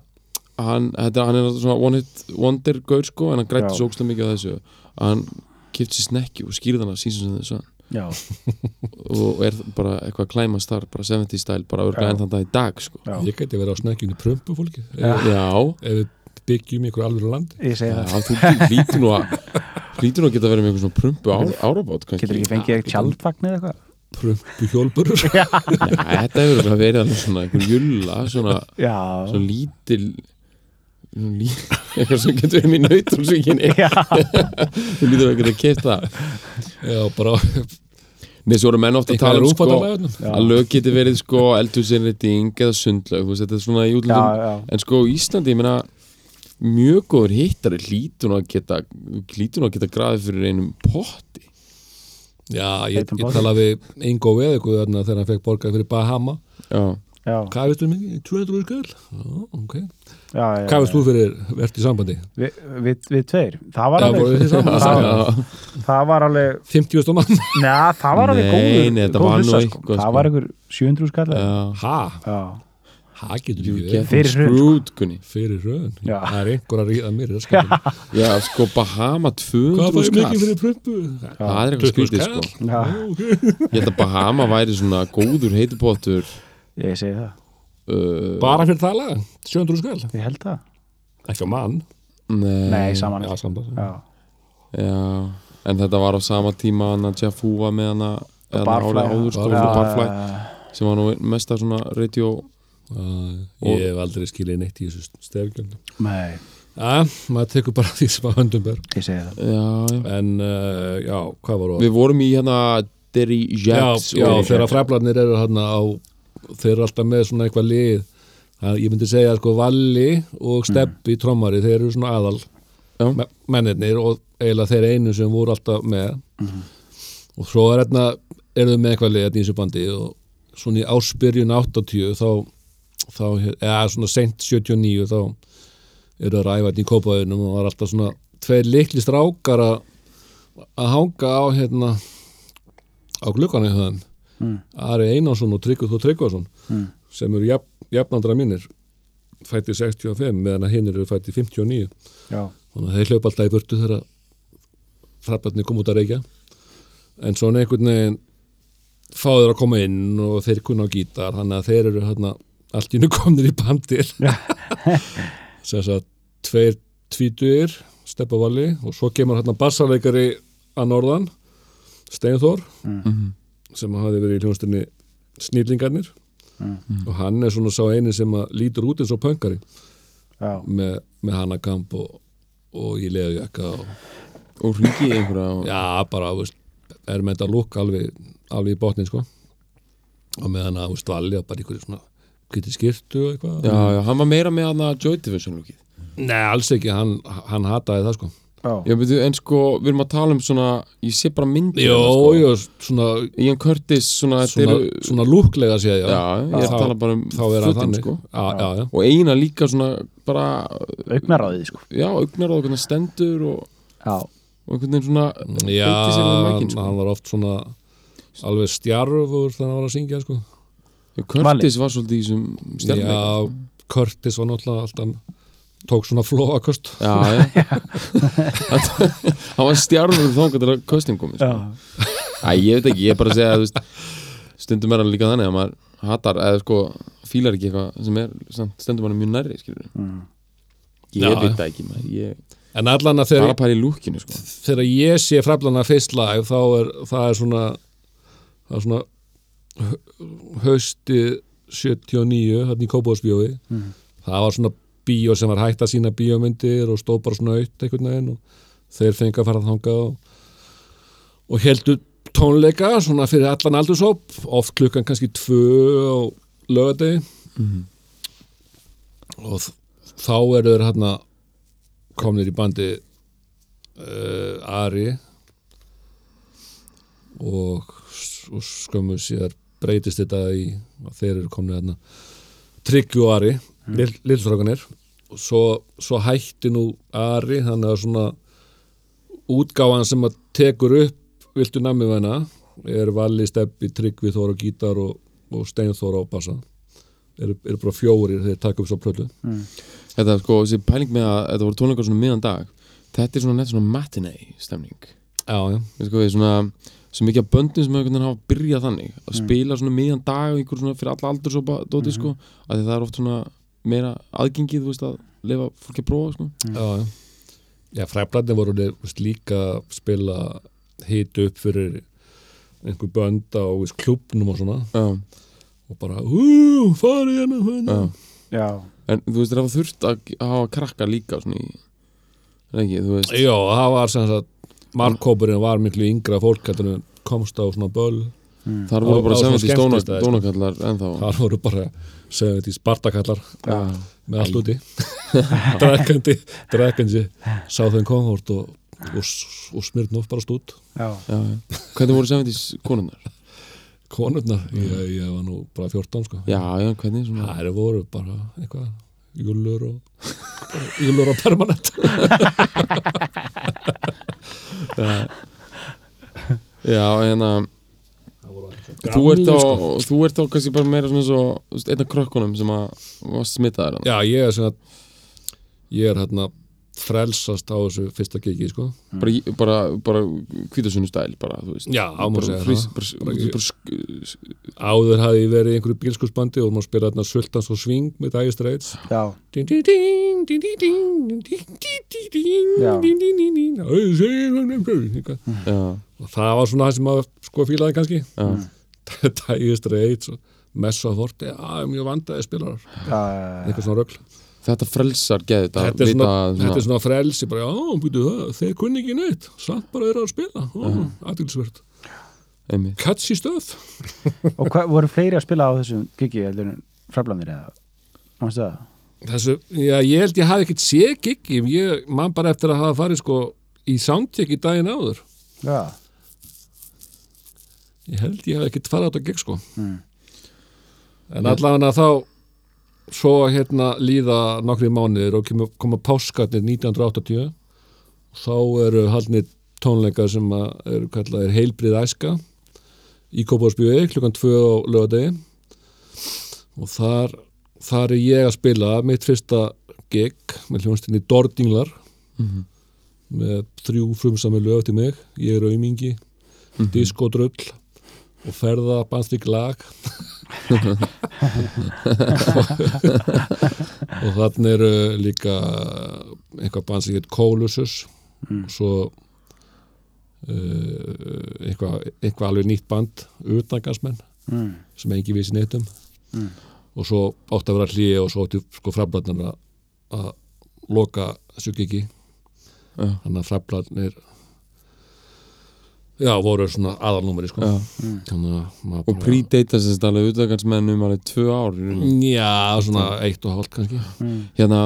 C: hann, þetta, hann er náttúrulega svona one hit wonder gaur sko en hann grætti
B: Já.
C: svo ógstlega mikið á þessu að hann kipti sér snekki og skýrði hann að season sem þessu
B: já,
C: og og er bara eitthvað að klæmast þar bara 70 style, bara
B: Já.
C: örgulega enn þann dag í dag sko
B: já,
D: Ég gæti verið á snekkjunni prömpu fólki
B: Já.
D: ef,
C: já,
D: ef við byggjum ykkur alveg landi
B: ég segi
C: já
B: það
C: þú lítur nú að lítur nú að geta verið með einhvern svona prumpu á, árabát kannski.
B: Getur ekki fengið eitthvað tjaldvagn eða eitthvað?
D: prömpu hjólburur
C: Nei, þetta hefur örugglega verið alveg svona einhver julla, svona,
B: Já,
C: svona lítil svona lí- eitthvað sem getur verið mér nautrúsvíkinni
B: já,
C: þú lítur að geta keitt það
D: Já, bara
C: Nei, svo eru menn ofta að
D: eitthvað
C: tala um sko
D: rúmfattalega
B: Já.
C: að lög geti verið sko eldhúsinrétting eða sundlög, þú veist, þetta er svona í
B: já,
C: útlöndum
B: já,
C: en sko í Íslandi, ég meina mjög góður hittari hlýtur nú að geta hlýtur nú að geta graðið fyrir einum potti
D: Já, ég,
B: Heitum
D: ég
B: bolta.
D: talaði við Ingo Veðugu þarna þegar hann fekk borgað fyrir Bahama
C: já,
B: já,
D: Hvað veistu um mig? 200 skall? Já, ok
B: já, já.
D: Hvað veist þú fyrir verðt í sambandi?
B: Vi, við, við tveir, það var
D: Já, voruð
B: alveg
D: þið saman?
B: það,
C: já.
B: það var alveg
D: 50.000 mann?
B: Næ, það var alveg
C: Nei,
B: góður
C: nei, þetta
B: góð
C: var nú
B: hlussa,
C: eitthvað,
B: Það
C: sko.
B: var einhver 700 skall eða?
C: já.
D: Ha?
B: Já,
D: Ha getur
C: You
D: ekki
C: get
D: verið
B: Fyrir hrun, sko.
C: screwed, Gunni
D: Fyrir raun
B: Já.
D: Það er einhver að ríða mér í raskatum.
C: Já, sko, Bahama
D: Hvað
C: 200
D: fæði
C: skall
D: mikið fyrir prömpu?
C: Það er eitthvað
D: 20
C: skrítið,
D: skall?
C: sko
B: já,
C: Ég held að Bahama væri svona góður heitupottur
B: ég segi það
C: uh,
D: Bara fyrir það lag? 700 skall?
B: Ég held það,
D: Ekki á mann?
C: Nei,
B: nei, saman
D: Já,
B: ekki.
D: samt að
B: Já,
C: Já, en þetta var á sama tíma hann að Jeff Hu var með hann að
B: Barfly,
C: áður, sko,
D: já.
C: fyrir Barfly
B: já,
C: sem var nú mesta svona radio Og-
D: Ég hef aldrei skilið neitt í þessu stefgjöndu
B: nei,
D: Já, maður tekur bara því sem að höndum ber
B: ég segi það
C: já, já.
D: En, uh, já, hvað var það?
C: Við vorum í hérna Derry Jacks
D: já, já, þegar fræflarnir eru hérna á þeir eru alltaf með svona eitthvað lið það, ég myndi segja sko Valli og Steppi trommari, þeir eru svona aðal
C: Já.
D: me- mennirnir og eiginlega þeir einu sem voru alltaf með
B: Mhm.
D: og svo er hérna eru þau með eitthvað lið hérna í þessu bandi og svona í áspyrjun 80 þá, þá eða svona sent 79 þá eru að ræfa hérna í kópaðunum og það er alltaf svona tveir likli strákar að að hanga á hérna á glukkan í höfðum
B: Mm.
D: Ari Einarsson og Tryggvi Þór Tryggvason
B: Mm.
D: sem eru jafn, jafnandra mínir fætti 65 meðan að hinn eru fætti 59
B: Já,
D: þannig að þeir hlaupa alltaf í burtu þegar frapparnir kom út að reykja en svona einhvern veginn fá þeir að koma inn og þeir kunna á gítar þannig að þeir eru hérna allt í nú komnir í bandir sem þess að tveir tvítur steppavalli og svo kemur hérna bassarleikari að norðan Steinþór sem hafði verið í hljónstinni Snýlingarnir og hann er svona sá eini sem að lítur út eins og pöngari
B: já,
D: með, með hana kamp og, og ég leðu jakka og
C: og hringi í einhverja og,
D: já, bara, þú veist, er með þetta lúk alveg, alveg í botnin, sko og með hana, þú veist, valja bara ykkur svona kviti skirtu og eitthvað
C: já, já, hann var meira með hann að Joy Division lúkið
D: Nei, alls ekki, hann, hann hataði það, sko
B: já,
C: Já, veitu, en sko, við erum að tala um svona ég sé bara myndir
D: Jó,
C: hérna, sko.
D: jó, svona
C: Ian Curtis, svona, þetta
D: svona,
C: eru
D: svona lúklega séð, já,
C: Já, ég er að tala bara um
D: þá er hann
C: fötin,
D: þannig
C: sko.
D: já, já, já,
C: og eina líka svona bara,
B: augnaráðið sko
C: já, augnar á hvernig hann stendur og,
B: Já,
C: og einhvern veginn svona
D: já
C: beitti sér við mækin,
D: hann,
C: sko.
D: var oft svona alveg stjarfur þegar hann var að syngja, sko
C: Já, Curtis var svolítið í þessum stjarnleik
D: Já, Curtis var náttúrulega alltaf tók svona flóakost
C: já, já. hann var stjarnur þangað til að köstin komi sko.
B: já,
C: Æ, ég veit ekki, ég er bara að segja þú veist, stundum er hann líka þannig að maður hatar eða sko fílar ekki eitthvað sem er samt stundum hann mjög nærri skilur
B: Mm.
C: ég
D: Já.
C: veit það ekki maður ég,
D: En allan að þegar
C: bara pæri lúkinu sko
D: þegar ég sé fraflana fyrst live þá er það er svona það er svona hau- haustið 79 hann í Kópóðsbjói það var svona bíó sem var hægt að sína bíómyndir og stóð bara svona aukt einhvern veginn og þeir fengi að fara þangað og, og heldur tónleika svona fyrir allan aldurshóp oft klukkan kannski tvö á lögadegi og þ- þá eru þeir hérna komnir í bandi uh, Ari og, og skömmu síðar breytist þetta í að þeir eru komnið hérna Tryggju og Ari, mm. lillstrákanir og svo, svo hætti nú Ari, þannig að svona útgáfan sem að tekur upp viltu nammi væna er Valli, Steppi, Tryggvi, Þóra, Gítar og, og Steinþóra og Bassa eru, eru bara fjórir þegar þeir taka upp svo plötu
C: Þetta sko, þessi pæling með að þetta voru tónleikar svona miðan dag Þetta er svona neitt svona matinee stemning
D: Já, já,
C: Við sko, við svona, svo mikið af böndum sem einhvern veginn hafa byrjað þannig
D: Mm.
C: að spila svona miðjan dag og einhver svona fyrir alla aldur svo dóti sko, að því það er oft svona meira aðgengið, þú veist, að lifa fólki að prófa, sko
D: já, já Já, fræflarnir voru orðið, þú veist, líka að spila hit upp fyrir einhver bönd á þú veist, klúbnum og svona
C: Já,
D: og bara, hú, farið hérna hérna.
C: já
B: já,
C: En þú veist, það var þurft að að hafa krakka líka svona í, er það ekki, þú veist
D: Já, það var sem sagt markkópurinn var miklu yngra fólk heldur en komst á svona böll
C: Þar voru
D: Á- á
C: bara
D: svona
C: 70 stóna-
D: skemmtistaði, sko.
C: stónakallar ennþá
D: þar voru bara segjum þetta í spartakallar
C: Já,
D: með allt úti drekandi, drekandi sá þeim komhort og, og, og smyrn upp bara stút
B: já,
C: já Hvernig voru 70 konunnar?
D: konurnar, ég, ég var nú bara 14 sko
C: Já, já, hvernig svona
D: það eru voru bara eitthvað júlur og júlur og permanent
C: Já, hérna Þú ert á, þú ert á kannski bara meira svona svo þú veist, einn af krökkunum sem að var smitaðir hann
D: já, ég er sem að ég er hérna frelsast á þessu fyrsta gigi sko
C: bara, í- bara, bara hvítasunni stæl bara, þú veist
D: Já, má
C: bara,
D: segja
C: frís,
D: það.
C: bara,
D: Bara
C: bara,
D: ekki-
C: bara, sk- s-
D: áður hafði ég verið í einhverju bílskursbandi og maður spilaði hérna sultans og sving með dagist reits
B: já,
D: ding ding ding ding ding ding ding ding ding
B: Já.
D: ding ding ding ding Æ, segir hann um brauð, eitthvað.
C: já,
D: og það var svona það sem maður sko fílaði kannski
C: já,
D: dagist reits og messa forti já, mjög vandaði spilarar
B: já, já, já.
D: eitthvað svona rögl
C: Þetta frelsar geði þetta
D: þetta er
C: vita
D: svona,
C: að
D: þetta er svona frelsi bara, já, býtu það, þeir kunni ekki neitt samt bara eru að spila, ó, aðtilsvert
C: einmitt.
D: catchy stuff
B: Og hvað, voru fleiri að spila á þessum gigi heldur en fræflandir eða? Mástu það?
D: Þessu, já, ég held ég hafi ekkert séð giggi, ég man bara eftir að hafa farið sko í soundcheck í daginn áður.
B: Já,
D: Ég held ég hafi ekkert farið á þetta gig sko.
B: Mm.
D: En allavega þá svo hérna líða nokkri mánuðir og kemur, koma páskarnir 1980 og þá eru haldnir tónleikar sem að eru kallaðir heilbrið æska í Kópáðsbjöði klukkan 2 á lögadegi og þar, þar er ég að spila mitt fyrsta gig með hljónstinni Dordinglar með þrjú frumsami lög eftir mig ég er aumingi, mm -hmm. diskotrull og ferða bandstrik lag og þannig eru líka eitthvað band sem heit Kólusus og svo uh, eitthvað, eitthvað alveg nýtt band utangansmenn
B: mm.
D: sem engi vissi neitt um og svo átti að vera hlýi og svo átti sko frablarnar að loka sjúkiki
C: Já.
D: þannig að frablarnir já, voru svona aðalnúmeri sko
C: Já.
D: þannig að maður
C: og pre-data sem þetta alveg utakansmenn um alveg tvö ár í
D: Mm.
C: rauninni.
D: já, svona eitt og hálft kannski
C: hérna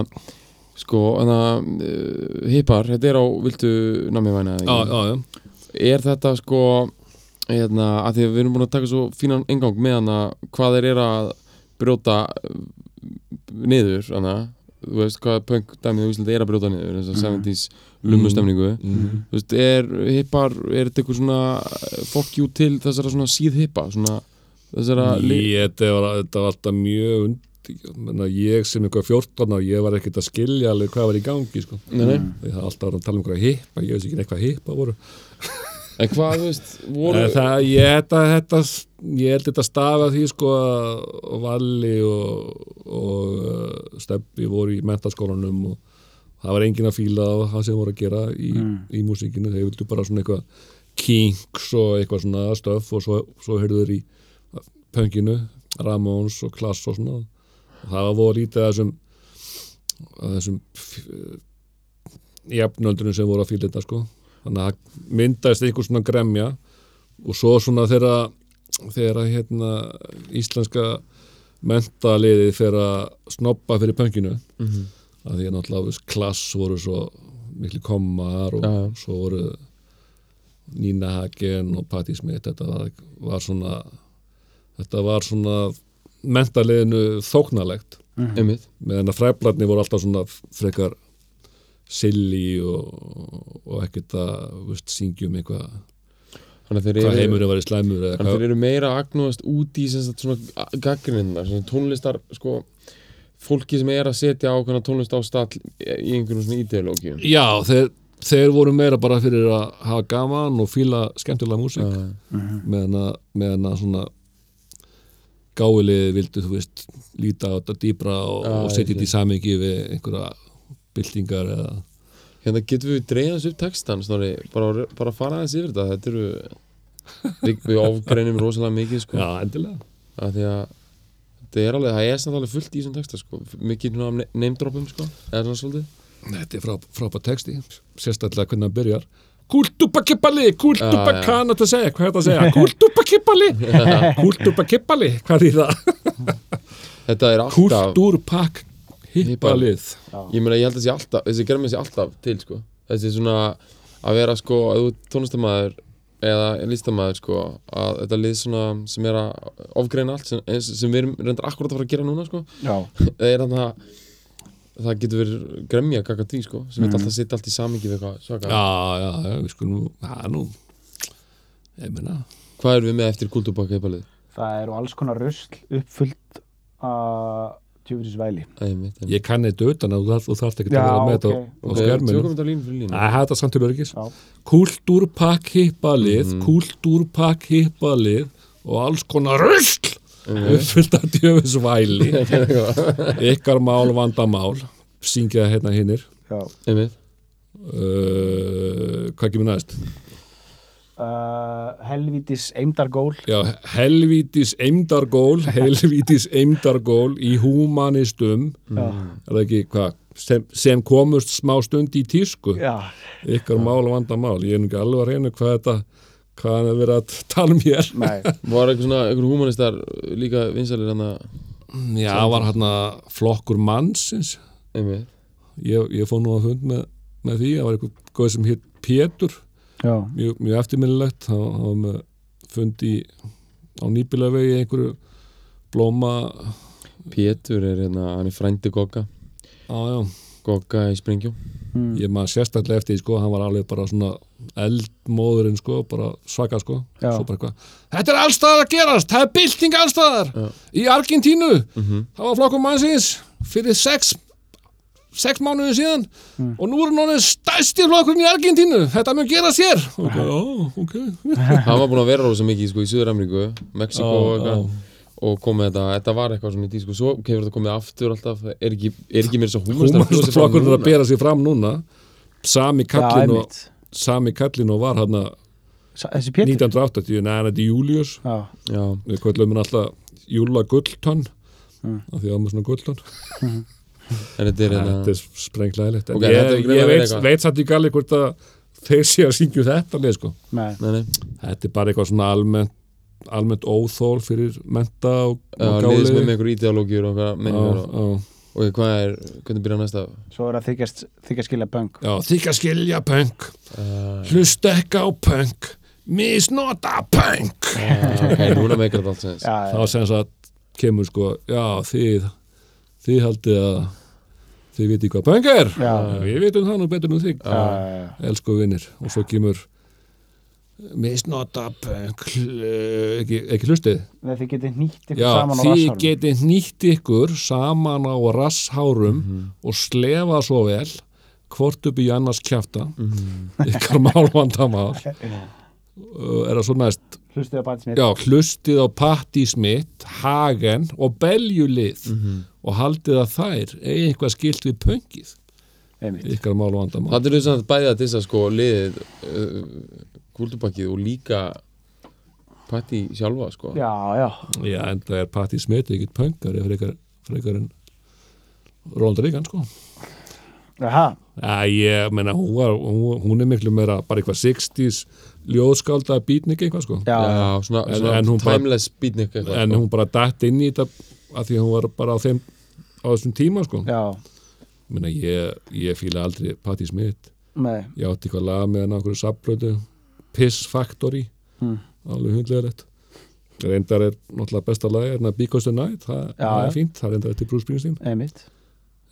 C: sko, hérna uh, hippar, þetta er á, viltu námi væna
D: já, já, já,
C: er þetta sko hérna, að því að við erum búin að taka svo fínan engang með hana hvað þeir eru að brjóta eh, niður hana, þú veist hvað punk dæmið á Íslandi er að brjóta niður þess að 70s lumustemningu
D: Mhm.
B: Mm,
C: þú veist, er hippar, er þetta eitthvað svona eh, fuck you til þessara svona síð hippa svona þessara li-
D: Ég, þetta, var, þetta var alltaf mjög und, menna, ég sem einhver 14 ára ég var ekkert að skilja alveg hvað var í gangi sko.
C: Nei, nei.
D: Því það var alltaf að tala um einhverja hippa ég veist ekki neitt hvað hippa voru
C: en hvað, þú veist, voru
D: Nei, það, ég, þetta, þetta, ég held þetta stafa því sko að Valli og, og uh, Steppi voru í mentaskólanum og það var engin að fíla á það sem voru að gera í, í músíkinu, þeir vildu bara svona eitthvað kinks og eitthvað svona stöf og svo, svo heyrðu þeir í pönginu, Ramones og Klass og svona og það var voru lítið að þessum að þessum f- jafnöldunum sem voru að fíla þetta sko þannig að það myndaðist einhver svona gremja og svo svona þegar þegar að, hérna íslenska mentaliðið fyrir að snoppa fyrir pönginu mm -hmm. að því að náttúrulega veist, klass voru svo miklu kommar og
C: Já.
D: svo voru Nina Hagen og Patti Smith þetta var, var svona þetta var svona mentaliðinu þóknalegt
C: einmitt,
D: meðan að fræflarni voru alltaf svona frekar silly og, og ekkert að þú veist, syngja um eitthvað
C: Þannig að þeir
D: hvað
C: eru-
D: heimurinn var í slæmur eða
C: Þannig að
D: hvað
C: þeir eru meira að agnúast út í sem sagt, svona gaggrinnar, svona tónlistar sko, fólki sem er að setja ákveðna tónlist á stall í einhverjum svona ideológíum
D: já, þeir, þeir voru meira bara fyrir að hafa gaman og fíla skemmtilega músík
C: uh,
D: meðan að, meðan að svona gáilið vildu, þú veist, líta á þetta dýbra og,
C: Já,
D: og setja
C: ég
D: þetta í samingi við einhverja byltingar eða
C: Hérna getum við dreigðans upp textan snorri, bara, bara fara aðeins yfir þetta þetta eru við, við ofgreinum rosalega mikið sko,
D: já, endilega
C: af því að þetta er alveg, það er samt alveg fullt í þessum texta sko, mikið svona neymdropum sko, eða svona svolítið
D: Þetta er frá, frábært texti, sérstaklega hvernig hann byrjar Kultubakippali,
C: Já, já.
D: kultubakan þetta segja, hvað er þetta að segja? Kultubakippali, kultubakippali, hvað er í það?
C: þetta er alltaf,
D: Kulturpak hippalið
C: ég meina ég held að sé alltaf þessi germi sé alltaf til sko þessi svona að vera sko að þú ert tónlistamæður eða listamæður sko að þetta lið svona sem er að ofgreina allt sem, eins- sem við erum reyndar akkurat að fara að gera núna sko
B: já,
C: það er þannig að það getur verið gremja kaka því sko sem mm. alltaf að setja allt í samingi við eitthvað
D: Já,
C: svaka
D: já, já, við skulum, það er nú Ég meina,
C: hvað erum við með eftir kultúrbakka eitthvað
B: það eru alls konar rusl uppfullt að tjöfisins væli
C: lið
D: ég kann eitt utan að þú, þú þarft ekki að
B: Já,
D: vera með þetta
B: ok.
D: á- á skjörminu
C: tökum þetta línu fyrir línu
D: Það er þetta samt til örgis
B: Já.
D: Kultúrpak hippalið,
C: Mhm.
D: kultúrpak hippalið og alls konar rusl
C: Mhm.
D: uppfyllt að djöfus væli ykkar mál vandamál syngja hérna hinnir
B: já,
C: einmitt
D: uh, hvað kemur næst
B: uh, helvítis eimdargól
D: já, helvítis eimdargól helvítis eimdargól í humanistum
B: já,
D: er það ekki hvað sem, sem komust smá stund í tísku
B: já,
D: ykkar mál vandamál ég er nú ekki alveg að reyna hvað þetta hvað hann er verið að tala um hér
B: nei
C: var eitthvað svona, einhver humanistar líka hérna? vinsalir hann að
D: já, það var hérna flokkur mannsins
C: einmitt
D: ég, ég fór nú að fund með, með því það var eitthvað góð sem hitt Pétur
B: já,
D: mjög, mjög eftirminnilegt það það var með fundi á nýbilavegi í einhverju blóma
C: Pétur er hérna, hann er frændi Gokka
D: á, já,
C: Gokka í Springjum
D: ég maður sérstaklega eftir því, sko, hann var alveg bara svona eldmóðurinn sko, bara svaka sko
B: Já.
D: svo bara eitthvað, þetta er allstaðar að gerast það er bylting allstaðar
C: Já.
D: í Argentínu, það var flokkum mannsins fyrir sex sex mánuðin síðan og nú er hann orðinn stærsti flokkurinn í Argentínu þetta mun gera sér ok, já, ok
C: hann var búinn að vera rosa mikið sko, í Suður-Ameríku, Mexiko og
D: Já,
C: eitthvað og komið þetta, þetta var eitthvað svona í tísku svo hefur þetta komið aftur alltaf er ekki, er ekki mér svo
D: Húmanista flokkurinn er að bera sig fram núna Sami
B: já,
D: kallinn og
B: einmitt
D: Sami kallinn og var hann
B: Sa- þessi pétur
D: 1980, neðan þetta er Július
B: já,
C: já,
D: við kvöllum hann alltaf Júla Gulltönn af því að maður svona Gulltönn
C: en þetta er
D: þetta
C: hérna
D: er sprenglæðilegt
C: Ok,
D: okay, ég,
C: þetta er
D: ég,
C: greinilega
D: veit,
C: eitthvað.
D: veit satt í galli hvort að þeir sé að syngju þetta leið, sko.
B: nei,
C: nei, nei,
D: þetta er bara eitthvað svona almennt almennt óþól fyrir menta og,
C: já,
D: og
C: liðis með með
D: gáli
C: einhver ideológiur og hvað menningar og,
D: já,
C: og hvað er, hvernig byrja næsta
B: svo er að þykjast þykjast skilja böng
D: já, þykja skilja punk
C: uh,
D: hlusta ekki á punk misnota punk
C: Ah, ok, núna meikar þetta allt sens
B: já,
D: þá sem sagt kemur sko já þið þið haldið að þið viti hvað pöng er
B: Já.
D: við vitum það nú betur en þig
B: já, já, já.
D: elsku vinnir og svo kemur misnota pöng hl- ekki, ekki hlustið
B: Nei, þið getið nýtt ykkur
D: já,
B: saman á
D: þið
B: rassarum
D: geti nýtt ykkur saman á rasshárum
B: Mhm.
D: og slefa svo vel hvort upp í annars kjafta
B: Mhm.
D: ykkar málvandamál Uh, er það svo næst
B: hlustið á bætismið
D: Já, hlustið á Patti Smith, Hagen og Beljulið og haldið að þær eigi eitthvað skilt við pöngið
B: einmitt,
D: ykkar mál og andamál.
C: það er þess að bæði að dissa sko liðið uh, kultubakkið og líka patti sjálfa sko
B: já, já,
D: Já, en það er Patti Smith ekkert pöngari frekar, frekar en Ronald Reagan, sko.
B: aha
D: Æ, ég meina, hún, var, hún, hún er miklu meira bara eitthvað 60s ljóðskálda bítnik eitthvað, sko.
B: já, já,
C: Já, svona,
D: En-
C: svona
D: en hún bara-
C: timeless beatnik eitthvað
D: en
C: sko.
D: hún bara datt inn í þetta að því að hún var bara á þeim á þessum tíma, sko.
B: já,
D: Meina, ég, ég fíla aldrei Patti Smith.
B: nei
D: ég átti eitthvað lag með hann á einhverju sapplötu Piss Factory Hmm.
B: Mm.
D: alveg hundlegilegt reyndar er náttúrulega besta lag er Because the Night, það,
B: Já,
D: það
B: já.
D: er fínt það er reyndar eftir Bruce Springsteen
B: einmitt,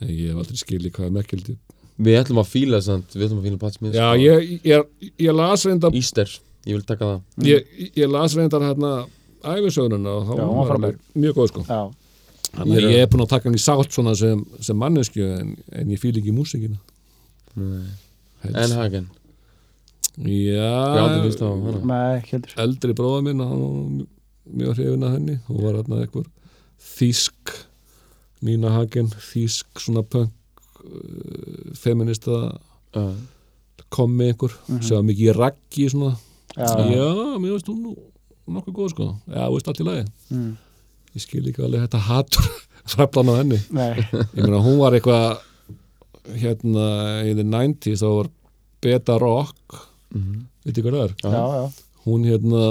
D: en ég hef aldrei skilið hvað er mekkildi
C: Við ætlum að fíla samt, við ætlum að fíla Pat Smith sko.
D: já, ég, ég, ég las reyndar
C: Íster ég vil taka það
D: ég, ég las reyndar hérna æfisöðununa og þá
B: Já, hún var
D: var hann
B: frábær.
D: mjög góð sko
B: já,
D: Þannig að ég er búin að taka hann í sátt svona sem, sem mannesku en, en ég fíl ekki músikina
C: En Hagen, ég aldrei
D: Já,
C: hlusta á hana
B: með heldur
D: eldri bróða minn hann var mjög hrifin að henni og var hérna einhver þýsk Nína Hagen, þýsk svona punk uh, feminista
C: Já,
D: komi einhver, sem var mikið í raggi svona, já,
B: já,
D: mér veist hún nú nokkuð góð sko, já, þú veist allt í lagi
B: mm,
D: ég skil ekki alveg þetta hatur hraflan á henni,
B: nei,
D: ég meina hún var eitthvað hérna in the 90s þá var beta rock
C: mhm.
D: veit ekki hvað það er
B: já, já,
D: hún hérna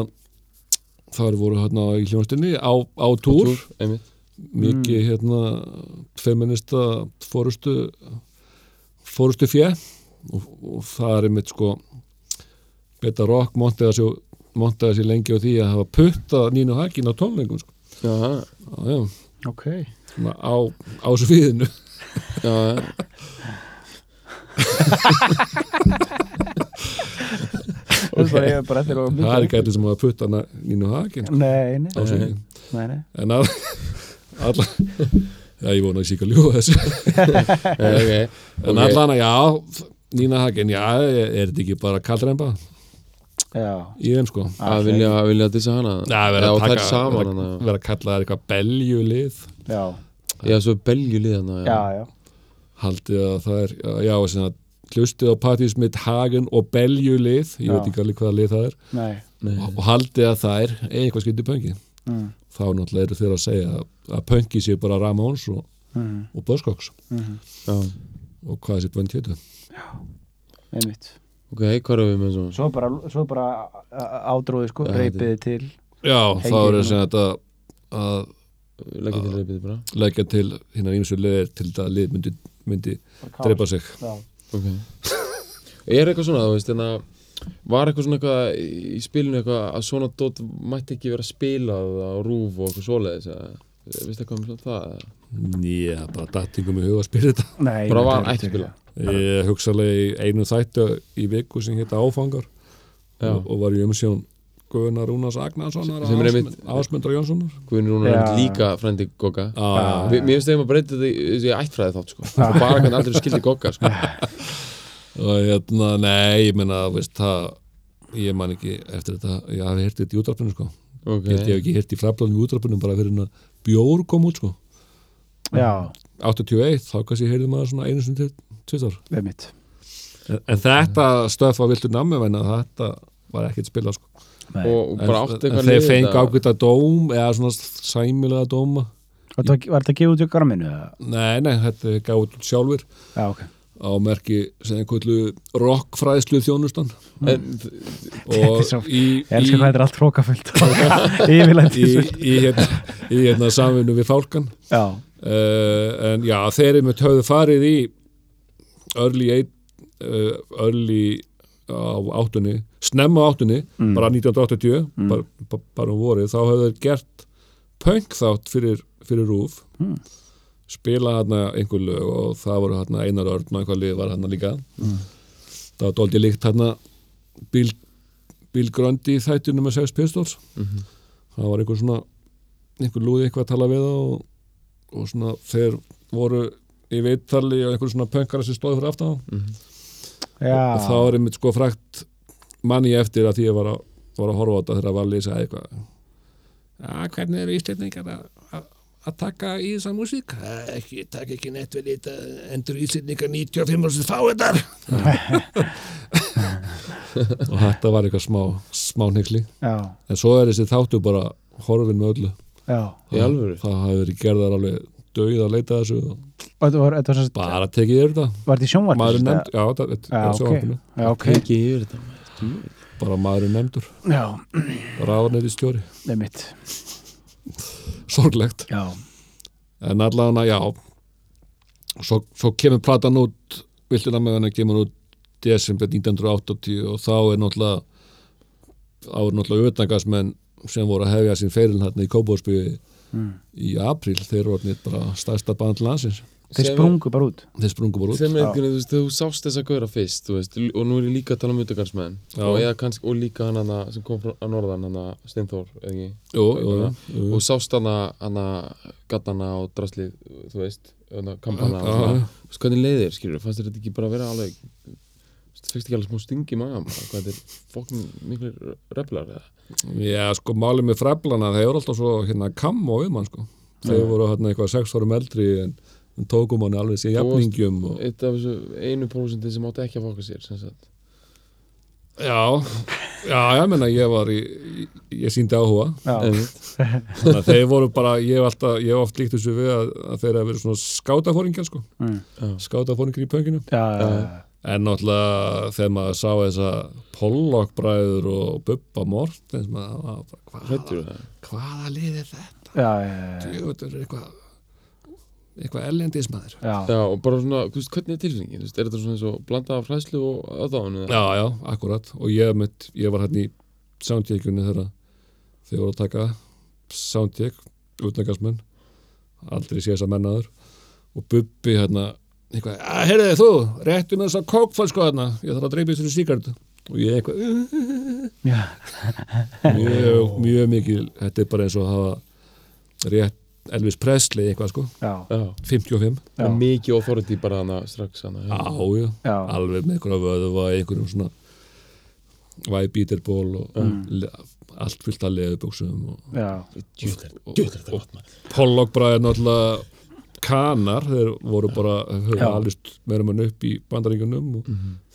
D: þar voru hérna í hljónstinni á, á túr,
C: Túr, einmitt
D: mikið hérna feminista fórustu fórustu fjö og, og það er einmitt sko Beta Rock montaði sér, montaði sér lengi á því að hafa putta Nínu Hakin á tónleikum sko.
C: Já,
D: á, já,
B: ok
D: svona á, á svo fíðinu
C: já, já
B: það var ég bara eftir og
D: það er ekki allir sem hafa putta hana Nínu Hakin sko,
B: nei, nei,
D: á svo fíðinu
B: nei, nei.
D: en að alla, já ég vona ekki sík að ljúga þessu
C: Nei, ok.
D: En
C: Ok.
D: allan að já, Nína Hagen, já, er þetta ekki bara kallremba
B: já,
D: í þeim sko?
C: að vilja, vilja dissa hana
D: Já,
C: Já,
D: vera að
C: og
D: taka,
C: þær saman
D: vera,
C: hana
D: vera að kalla það eitthvað beljulið,
B: já,
C: já, svo belgjulið hana
B: já, já
D: haldið að það er, já, sem að hlustið á partís mitt Hagen og beljulið, ég
B: Já.
D: veit ekki alveg hvaða lið það er,
B: nei,
C: Nei.
D: og, og haldið að það er eitthvað skipti pöngi.
B: mm,
D: Þá náttúrulega eru þeir að segja að, að pöngi sé bara Ramones og,
B: mm,
D: og Buzzcocks
B: mm,
C: já.
D: og hvað þessi bönd hétu.
B: einmitt
C: ok, hvað erum við með svona
B: svo bara, svo bara á- ádróði sko,
C: Já,
B: reypiði til
D: Já, þá
B: Hengið
D: eru
B: nú.
D: sem þetta að
C: leggja
D: Ah.
C: til reypið bara
D: leggja til hinnar ímsu liðir til þetta að lið myndi, myndi dreipa sig.
B: já,
C: ok er eitthvað svona, þú veist, en að var eitthvað svona eitthvað í spilinu eitthvað að svona dót mætti ekki vera spilað á rúf og eitthvað svoleiðis eða veistu eitthvað um svona það eða?
D: Já, bara dattingum í huga að spyrja þetta.
B: nei,
C: bara
B: ég
C: var
B: veit
C: ætti
B: ekki.
C: spila
D: Ég hugsaði í einu þættu í viku sem hétta Áfangar
C: Já.
D: og, og var í umsjón Guðnar Rúnars Agnarssonar
C: Sem er einmitt-
D: Ásmundra Jónssonar.
C: Guðin Rúnar er
B: Já.
C: líka frændi Gogga
D: Já,
C: Vi- mér finnst þeim að breyta því þessi ættfræði þátt sko og bara hvernig aldrei skildi Gogga sko
D: og hérna, nei, ég meina, veist það, ég man ekki eftir þetta, ég hafi hirtið þetta í útarpunum sko.
C: ok,
D: Ég hef ekki hirtið í frablanum í útarpunum bara fyrir en að bjór kom út sko.
B: já,
D: 81, þá kannski heyrði maður svona einu sinni til tvisar.
B: einmitt
D: En, en þetta stöfa viltu nammi venna, þetta var ekkert spila sko.
B: Nei.
C: og og bara átti
D: en
C: eitthvað
D: þeir
C: lið
D: fengi
C: að-
D: ákveðta dóm eða svona sæmilega dóma
B: Og það- var þetta að gefa út í garminu? eða?
D: nei, nei, þetta gáði út sjálfur
B: já, ok
D: á merki sem einhverju rockfræðslu þjónustan
C: En
D: og
B: svo-
D: í,
B: Ég
D: í,
B: elskar hvað þetta er allt hrókafullt Yfirlæti
D: í, í, hérna, í hérna samvinnu við fálkan
B: Já,
D: uh, en já, þeir eru með höfðu farið í early, eight, uh, early á áttunni, snemma á áttunni bara 1980 bara, bara, bara um vorið, þá höfðu þeir gert punk þátt fyrir, fyrir rúf
B: Mm.
D: spila hann einhver lög og það voru hann einar örn og einhver lið var hann líka það var dóldi líkt hann Bill, Bill Grundy þætti nummer 6 Pistols það var einhver svona einhver lúði eitthvað að tala við þá og, og svona þeir voru í veittali og einhver svona pönkara sem stóði fyrir aftan þá.
B: já
D: og þá er einmitt sko frækt manni eftir að því ég var að, var að horfa á þetta þegar að var að lýsa eitthvað að hvernig eru íslendingar að- að að taka í þessa músík "Það er ekki, takk ekki neitt við þetta endur íslendingar 95 og sem fá þetta og þetta var eitthvað smá smá hnyggsli
B: Já,
D: en svo er þessi þáttu bara horfin með öllu
B: já
C: Í alvöru?
D: það hafi verið gerðar alveg döið að leita að þessu og
B: Og þetta var, þetta var, sérst,
D: bara tekið yfir þetta
B: var þetta í sjónvarpi?
D: maður er
B: sérst,
D: nefnd, já, þetta þetta
B: eða?
D: er sjónvarpinu.
B: Já, ok, já,
C: ekki yfir þetta
D: bara maður er nefndur,
B: ok Já,
D: ráðnætti stjóri
B: einmitt
D: sorglegt,
B: Já,
D: en allavega já svo, svo kemur platan út viltina með henni kemur út desember 1980 og þá er náttúrulega þá er náttúrulega auðvitaðgasmenn sem voru að hefja sín ferilin hérna í Kóbóðsbygði í apríl, þeir eru orðnir bara stærsta band landsins
B: þeir
C: Sem-
B: sprungu bara út
D: þeir sprungu bara út
C: Sem er einhvern veginn, þú veist, þegar þú sást þess að gauðra fyrst, þú veist, og nú er ég líka að tala um utagarsmenn
D: Já.
C: og, eða kannski- og líka hann hana sem kom frá að norðan, hana Steinþór, eða ekki,
D: jú, jú, jú, jú.
C: og sást hana, hana gattana og draslið, þú veist, hana kampana
D: Já,
C: og svona,
D: já.
C: þú veist, hvernig leiðir, skilur, fannst þér þetta ekki bara að vera alveg, þú veist, fyrst ekki alveg smá stingi í magan, bara, hvað þetta er fokkin miklir replar, eða?
D: Já, sko, málið með freflana, það eru alltaf svo hérna kamm og viðmann, sko. Þau voru hérna eitthvað sex árum eldri en, en tókum hann alveg sér jafningjum og... Ah.
C: Eitt af þessu einu prósentin sem átti ekki að fokka sér, sem sagt.
D: Já, já, ég menna, ég var í, ég, ég síndi áhuga.
B: já,
C: Einmitt.
D: Þannig að þeir voru bara, ég hef alltaf, ég hef oft líkt þessu við að, að þeir hafa verið svona skátafóringjar, sko.
B: mm.
D: Skátafóringjar í pönginu.
B: já, já,
D: En náttúrulega þegar maður sá þessa Pollock-bræður og Bubba Mortens, maður var bara, hvaða,
C: Hræddirðu það?
D: hvaða lið er þetta?
B: já, já, já,
D: Ég veit, þetta er eitthvað, eitthvað ellendismæður.
B: já.
C: Já, og bara svona, þú veist, hvernig er tilfinningin? Þú veist, er þetta svona eins og blanda af hræðslu og aðdáinu?
D: Já, já, akkurat. Og ég, mitt, ég var hérna í soundjækjunni þegar þeir voru að taka soundjæk, utnægarsmenn, aldrei sé þess að mennaður. Og Bubbi hérna, eitthvað, að heyrðu þú, réttu með þess að kókfalsko hérna, ég þarf að dreipa í þessu síkardu. Og ég eitthvað, "Uh,
B: já.
D: mjög, mjög mikil, þetta er bara eins og að hafa rétt Elvis Presley eitthvað sko,
B: já.
C: Já.
B: Já.
D: 55.
C: Það er mikið authority bara hana strax hana. hérna.
D: Já,
C: Já.
D: já,
B: Já.
D: alveg með einhverja vöðva, einhverjum svona væbítirból og
B: Mm.
D: le, allt fyllt að leðuböksum og
B: já.
C: Djúðlega þetta gott maður.
D: Pollock bara er náttúrulega kanar, þeir voru bara höfðu
B: Já. Mhm.
D: alveg meira mann upp í bandaríkunum og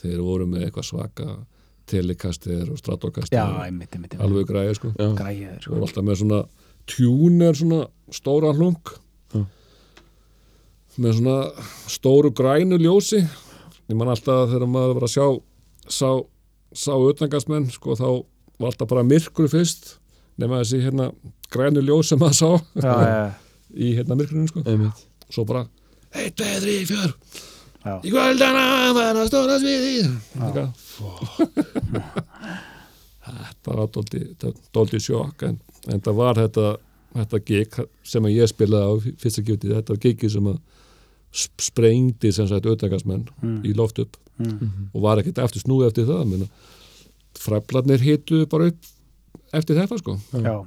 D: þeir voru með eitthvað svaka telekaster
B: Já,
D: og stratokaster,
B: einmitt, einmitt, einmitt.
D: alveg græði sko
C: Já.
B: græðir
D: Þeir voru
B: sko.
D: alltaf með svona tjúner svona stóra hlung
C: Já.
D: með svona stóru grænu ljósi ég man alltaf þegar maður var að sjá sá, sá ötnangasmenn sko þá var alltaf bara myrkur fyrst nema þessi hérna grænu ljós sem maður sá
B: Já, já,
D: í hérna myrkurinu sko
C: Einmitt.
D: svo bara 1, 2, 3, 4
B: já,
D: í kvöldana var að stóra sviði Eitthvað. þetta var dóldi, dóldi sjokk en, en það var þetta, þetta gig sem að ég spilaði á í fyrsta gifti þetta var gigið sem að sp- sprengdi sem sagt auðvitaðgasmenn í loft upp og var ekkert eftir snúið eftir það minna. fræflarnir hitu bara upp eftir þetta sko
B: já,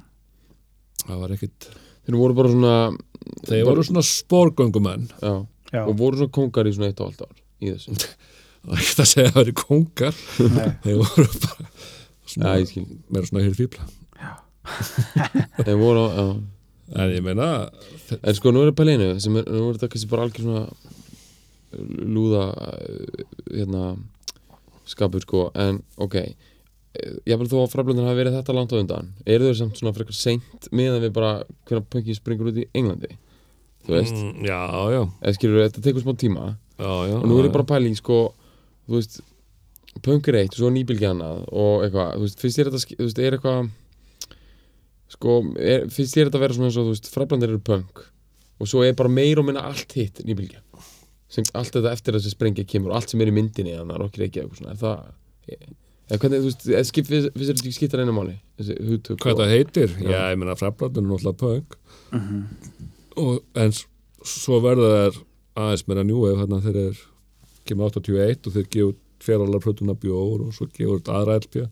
D: það var ekkert
C: Þeir voru bara svona...
D: þeir voru svona sporgöngumenn
C: Já.
B: já,
C: Og voru svona kongar í svona eitt og allt ár í þessu.
D: það er ekkert að segja að það eru kongar
B: Nei.
D: þeir voru bara
C: Já,
D: svona,
C: ég skil.
D: meira svona hirfíbla
C: Þeir voru, já.
D: en ég meina
C: En sko, nú er það pæleinu, sem er, nú er þetta kannski bara algjör svona lúða, eh, hérna, skapur sko, en ok, jáfnvel þó að frablandur hafi verið þetta langt á undan, eru þau samt svona frekar seint meðan við bara hvernig pöngið springur út í Englandi, þú veist?
D: mm, já, já,
C: eða skilur, þetta tekur smá tíma
D: já, já
C: og nú er
D: já.
C: ég bara að pæla í, sko, þú veist punk er eitt, svo nýbylgja annað og eitthvað, þú veist, finnst þér þetta sk- þú veist, er eitthvað sko, er, finnst þér þetta að vera svona eins og, þú veist, frablandir eru punk og svo er bara meir og minna allt hitt nýbylgja sem allt þetta eftir þessi sprengja kemur og allt sem er í myndinni, þannig að rokkir ekki eitthvað svona, er það eh, eða hvernig, þú veist, eða skip- finnst finnst þér þetta ekki skiptar einu máli, þessi hugtök
D: hvað
C: og-
D: það heitir,
C: Já. Mhm.
D: já, ég meina frablandin er náttúrulega punk og en s- svo verða þær aðeins meira njú ef þarna þeir er kemur 81 og þeir gefur fjaralar plötuna bjór og svo gefur þetta aðra LP
C: já,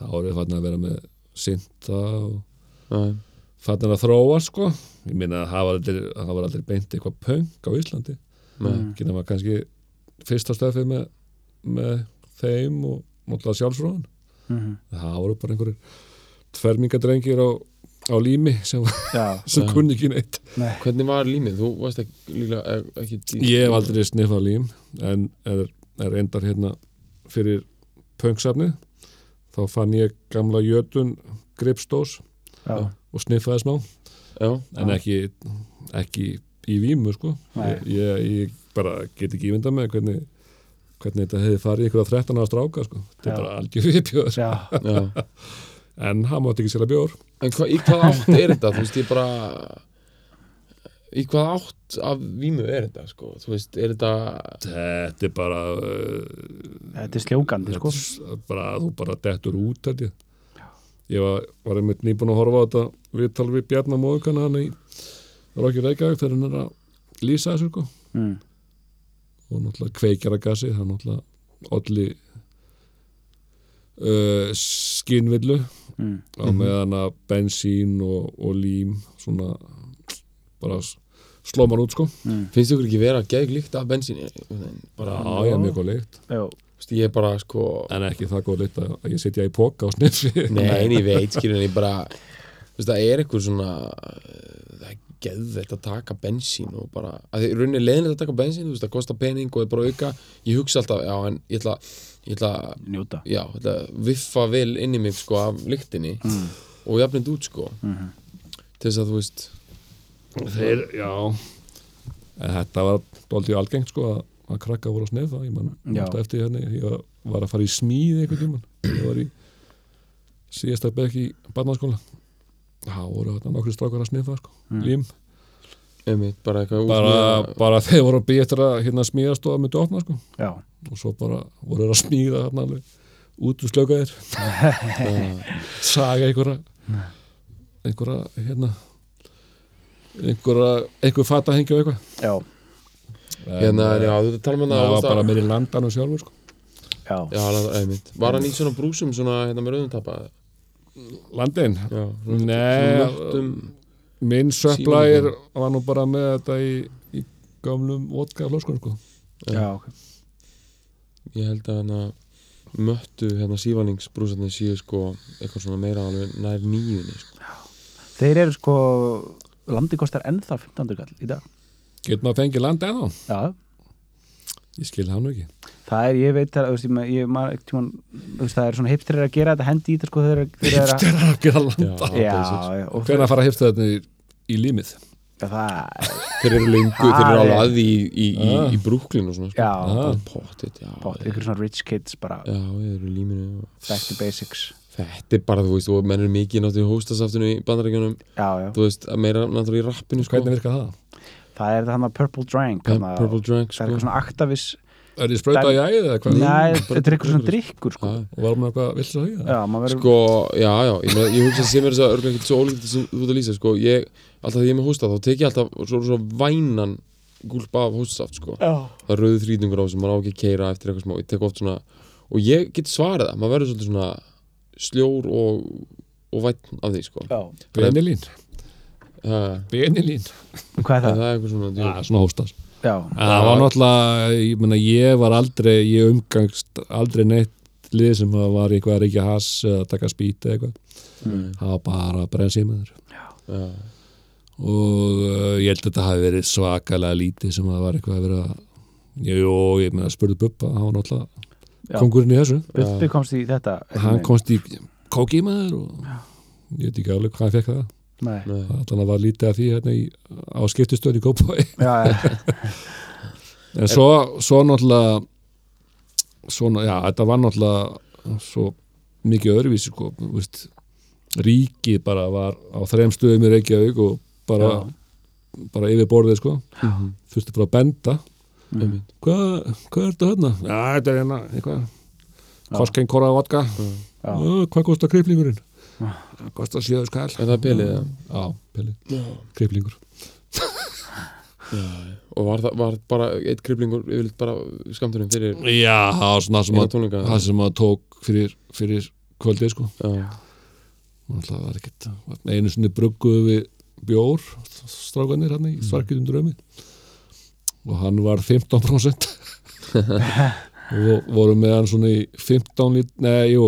D: þá er það þarna að vera með synta og
C: já,
D: þarna að þróa sko ég meina að það var aldrei, það var aldrei beint eitthvað punk á Íslandi
C: nei,
D: ekki nema kannski fyrsta stöfið með, með þeim og náttúrulega sjálfsfróðan
B: mhm,
D: það voru bara einhverjir tvermingadrengir á, á lími sem,
B: já,
D: sem
C: Já.
D: kunni ekki neitt
B: nei,
C: hvernig var límið, þú varst ekki, líklega, eh, ekki
D: ég hef aldrei sniffað lím en er, er endar hérna fyrir pöngsafni þá fann ég gamla jötun gripstós
B: já,
D: og sniffaði smá
C: já,
D: en
B: Já.
D: ekki, ekki í vímu sko
B: Nei.
D: ég, ég, ég bara get ekki ímynda með hvernig hvernig þetta hefði farið ykkur að 13 ára stráka sko. þetta
B: Já.
D: er bara algjör viðbjóður
B: já,
C: já
D: en hann mátti ekki selja bjór
C: En hva, í hvað átt er þetta? Þú veist, ég bara Í hvað átt af vímu er þetta, sko? Þú veist, er þetta
D: þetta er bara, uh,
B: þetta er sljókandi sko,
D: bara þú bara dettur út held ég ég var, var einmitt nýbúin að horfa á hérna þetta við talum við Bjarnar Móðukana hann í Rókjur Reykjavík þegar hann er að lýsa þessu sko.
B: mm.
D: og náttúrulega kveikjaragasi það er náttúrulega olli uh, skinvillu
B: Mm.
D: á
C: Mhm.
D: meðan að bensín og, og lím svona bara s- slómar út sko
C: finnst ykkur ekki vera gegn líkt af bensín bara,
D: já, já, mjög góð lykt
B: Já,
C: Vist, ég er bara sko
D: en ekki það góð lykt að að ég sitja í póka á sniffi
C: Nei, en ég veit, skilur en ég bara Vist, það er eitthvað svona eh, það er geðvett að taka bensín og bara, að því rauninni leðinlega að taka bensín þú veist, það kostar pening og er bara að auka ég hugsa alltaf, já, en ég ætla ég ætla,
B: njóta
C: já, ég ætla að viffa vel inn í mig, sko, af lyktinni og jafnind út, sko til þess að, þú veist
D: þeir, já en þetta var doldið algengt sko að, að krakka voru á sniffa ég man
B: Já.
D: alltaf eftir henni ég var- var að fara í smíði einhvern tímann ég var í síðasta bekk í barnaskóla þá voru þarna nokkri strákar að sniffa sko, lím
C: einmitt, bara eitthvað út
D: bara,
C: með-
D: bara þeir voru að býja eftir að hérna smíðast og að myndi opna sko
B: Já,
D: og svo bara voru þeir að smíða hérna alveg út úr slökaðir saga einhverja einhverja hérna einhverja einhver fatahengju og eitthvað
B: já,
D: En,
C: hérna,
D: eh,
C: já, þú tala með
D: það var bara
C: það
D: meiri landanum sjálfur sko.
B: já
C: já, la- einmitt, var hann í svona brúsum svona, hérna, með rauðum tappa
D: landin
C: já,
D: Nei,
C: löttum
D: minn söplægir var nú bara með þetta í, í gamlum vodka flöskun sko.
B: Já, ok
C: ég held að hana möttu hérna sívalningsbrúsarnir síðu sko eitthvað svona meira alveg nær nýjunni sko.
B: Þeir eru sko, landi kostar ennþá 15. kall í dag
D: getur maður fengið land eða
B: Já,
D: ég skil það nú ekki
B: það er, ég veit það, þú veist, ég, ma- ég maður ekki tímann, þú veist, það er svona hipstrir að gera þetta hendi í þetta sko þegar þeir eru að
D: er að gera land
C: Já.
B: Já,
C: basics.
B: já, og
D: hvernig að fara að hefta þetta í, í límið
B: Já, það,
C: þeir eru lengu, þeir eru alveg að því í, í, í,
D: Ah.
C: í brúklin og svona sko.
B: já,
D: Ah.
C: pottit, já,
B: bótt, ykkur svona rich kids bara,
C: já, ég eru í líminu og-
B: back to basics
C: þetta er bara, þú veist, og menn eru mikið náttúrulega í hóstasaftinu í bandarækjunum
B: Já, já,
C: þú veist, að meira náttúrulega í rappinu sko.
D: hvernig virka það?
B: það er þetta hann að purple drank
C: Pur-
B: þarna-
C: Purple Drink
B: Það er
C: sko.
B: eitthvað svona aktavis
D: er ég sprauta
B: Dan-
D: í æðið eða hvað?
B: Nei,
C: bara-
B: þetta er eitthvað svona drikkur sko.
C: Já.
D: og var maður eitthvað vill að hýða?
B: Já, maður verður
C: sko, já, já, ég, meina, ég hugsa sem er þess að örglega ekkert svo ólíkt sem þú ert að lýsa sko. ég, alltaf þegar ég er með hósta þá tek ég alltaf svo, svo vænan gúlp af hóstasaft sko.
B: Já,
C: það er rauðu þrýtingur á þessu, maður á ekki að keira eftir eitthvað smá, ég tek oft svona og ég get svarað það, maður verður svolítið svona sljór og, og vætn af því sko
B: já
D: Benilín,
C: ha,
D: Benilín
B: Hvað er
C: það,
B: það?
C: það er eitthvað svona djú,
D: ah, svona hóstas
B: Já,
D: það var náttúrulega, ég, meina, ég var aldrei ég umgangst aldrei neitt lið sem að var eitthvað að reykja has eða að taka spýt eða eitthvað það var bara að brenna símaður
C: já,
D: og uh, ég held að þetta hafi verið svakalega lítið sem að var eitthvað að vera jú, ég meina spurði Bubba hann var náttúrulega
B: Já.
D: kongurinn í þessu
B: Bubbi komst í þetta
D: hann komst í kókímaður og ég veit ekki alveg hvað hann fekk það
B: Nei,
C: nei,
D: Þannig að var lítið af því hérna í, á skiptistöðin í Kópói.
B: já, já,
D: En svo, svo náttúrulega, svona, já, þetta var náttúrulega svo mikið öðruvísi, sko, þú veist, ríkið bara var á þrem stöðum í Reykjavík og bara, bara yfir borðið, sko. Þurfti bara að benda.
C: einmitt.
D: Hvað, hvað er þetta hérna? Já, þetta er hérna, eitthvað, koskein korað vodka.
B: Já.
D: "Ö, Hvað kostar kriplingurinn? Kostar síðan skall.
C: en það er pelið það
D: Já, pili, kriplingur.
C: og var, það, var bara eitt kriblingur yfirleitt bara skamtunum fyrir
D: Mm. Já, það var svona sem
C: Eina
D: að,
C: tónleika.
D: það sem að tók fyrir, fyrir kvöldið sko
C: já,
D: og alltaf var ekkert, var einu sinni brugguðu við bjór, strákanir hann í svarkitum drömi og hann var 15% og vo- voru með hann svona í 15 lit, nei, jú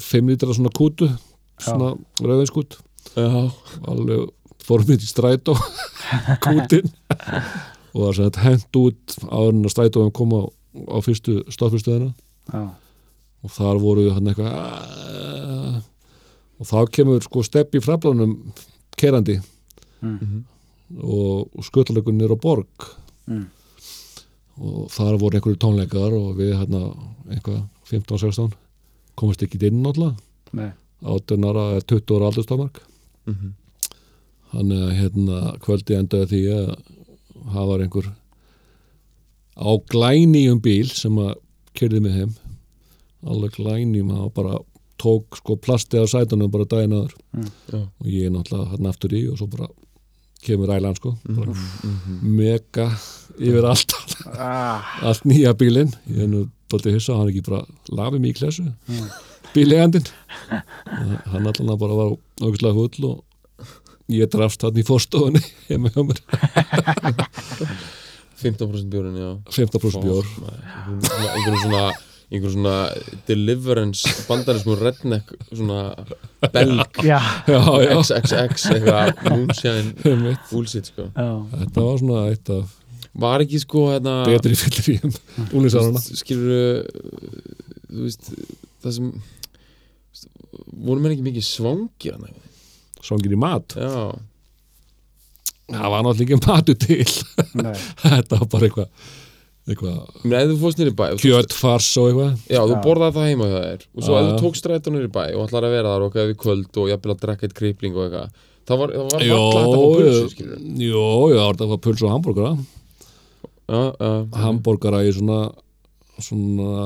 D: 5 litra svona kútu svona rauðinskút,
C: já,
D: alveg formið í strætó kútin og það sem þetta hent út áður en að strætóum koma á, á fyrstu stoffurstöðina
B: já,
D: og þar voru hann eitthvað "Ah." og þá kemur sko steppi frablanum kerandi
B: Mm.
D: og, og skuttalegun er á borg
B: Mm.
D: og þar voru einhverju tónleikar og við hérna eitthvað 15-16 komast ekki inn náttúrulega
B: nei
D: 18 ára eða 20 ára aldurstámark
C: Mhm.
D: þannig að hérna kvöldi endaði því að það var einhver á glænýjum bíl sem að kyrði mig heim alveg glænýjum, það var bara tók sko plastið á sætunum bara daginn aður
B: Mm.
C: Já.
D: og ég náttúrulega hann aftur í og svo bara kemur ælan sko bara
C: Mhm,
D: mega yfir allt
B: ah,
D: allt nýja bílinn ég er nú doldið hissa að hann ekki bara lafi mig í klessu
B: Mm.
D: bílegandinn hann allan að bara var ógæslega full og ég drafst hann í fórstofunni heima hjá mér
C: 15% bjórinn, já
D: 15% bjór
C: Fá, maður, einhverjum einhverjum svona einhverjum svona deliverance bandarismu redneck svona belg
B: já,
D: já, já,
C: XXX eitthvað moonshine
D: einmitt.
C: bullshit sko
B: já,
D: þetta var svona eitt af
C: var ekki sko hérna
D: betri fyllir í úlinsárana
C: skilur þú veist það sem voru menn ekki mikið svangir hann
D: svangir í mat
C: já
D: það var náttúrulega ekki matu til
B: nei,
D: þetta var bara eitthvað eitthvað
C: menn ef þú fórst nýri bæ þú tókst-
D: kjötfars og eitthvað
C: já þú
B: Já.
C: borðaði það heima hjá þér og svo
D: Já,
C: ef þú
D: já.
C: tókst strætó nýri bæ og ætlar að vera þar og eitthvað við kvöld og jafnvel að drekka eitt kripling og eitthvað það var, það var
D: Jó,
C: varla hægt að fá pulsu skilur
D: jó, já, þetta var puls og hambúrgara
C: já, já
D: hambúrgara í svona svona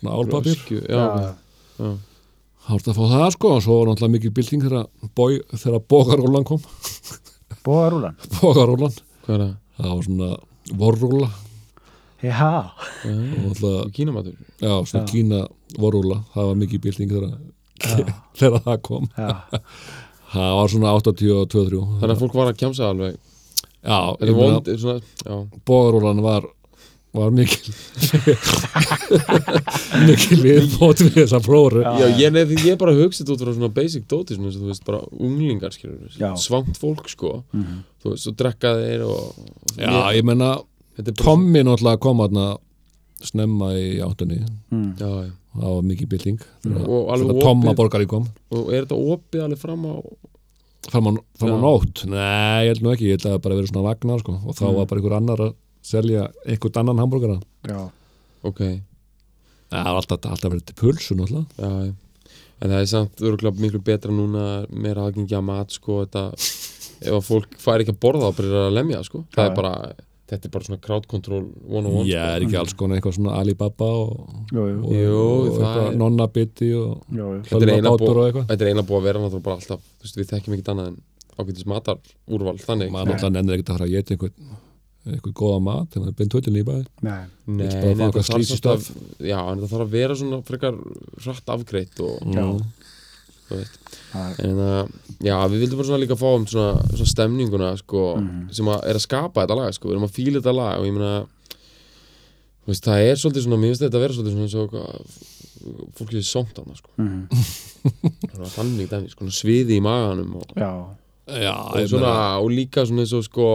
D: svona álpapir
C: Öskju, já, já.
B: já,
D: Það var að fá það sko og svo var náttúrulega mikil bilding þegar, boy, þegar bókarólan kom
B: bóða rúlan
D: bókarólan,
C: hvað er það?
D: það var svona vorróla
B: já,
C: Já,
D: og náttúrulega,
C: Kínamatur
D: já, svona
B: Mm. Já.
D: kína vorróla, það var mikil bilding þegar, þegar það kom
B: já,
D: það var svona 82-83
C: þannig að fólk var að kjamsa alveg
D: já,
C: þetta
D: ég
C: er
D: meina
C: vond er svona já
D: bókarólan var var mikil mikil viðbót við þessa próru
C: Já, ég, nei, því ég bara hugsið út frá svona basic dóti svona, eins og þú veist, bara unglingar
B: Já. Mhm.
C: skilur svangt fólk sko þú veist, og drekka þeir og, og
D: já, ég menna
C: þetta er bara
D: Tommi náttúrulega kom aðna snemma í áttunni
B: mm,
C: svona- já, já.
D: það var mikið bylting
C: Mm. Og alveg
D: þegar Tomma
C: opið.
D: borgari kom
C: og er þetta opið alveg fram á
D: fram á, fram á
C: Já.
D: nótt, nei, ég held nú ekki ég held að það bara verið svona vagnar sko
C: Mm.
D: og þá var bara einhver annar að selja einhvern annan hambúrgara
B: já,
C: ok,
D: Ja, það var alltaf, alltaf verið til pulsu náttúrulega
C: já, já en það er samt örgulega miklu betra núna meira aðgengi að mat sko þetta, ef að fólk fær ekki að borða þá byrjar það að lemja sko það
B: Já,
C: er
B: já.
C: bara, þetta er bara svona crowd control sko. one on one
D: ég er ekki alls konar eitthvað svona Alibaba og,
B: jú, jú,
D: og,
C: mm. Jú,
D: og
C: það
D: eitthvað
C: er-
D: nonna biti og
B: jú, jú.
C: Þetta er eina
D: hölva bátur
C: bó-
D: og eitthvað
C: þetta er eina búið að vera náttúrulega bara alltaf þú veist, við þekkjum ekkert annað en ágætis matar úrval þannig
D: maður náttúrulega nennir ekkert að fara að geta einhvern einhvern góða mat, þannig að beint höllin í bæði
B: nei,
C: Nei,
D: Vill
C: nei
D: bara fá
C: þetta
D: eitthvað
C: þarf
D: slís í
C: samt að Já, en það þarf að vera svona frekar hratt afgreitt og,
B: já,
C: þú veist
B: það er-
C: En að, já, við vildum bara svona líka fá um svona, svona stemninguna, sko sem að er að skapa þetta lag, sko, við erum að fíla þetta lag og ég meina þú veist, það er svolítið svona, mér finnst þetta að vera svolítið svona eins og hvað, fólk er somt annað, sko
B: mhm,
C: Svona þannig dæmi, sko, svona sviði í maganum og,
B: já,
D: já,
C: og,
D: ég
C: svona,
D: meina,
C: og líka svona eins og sko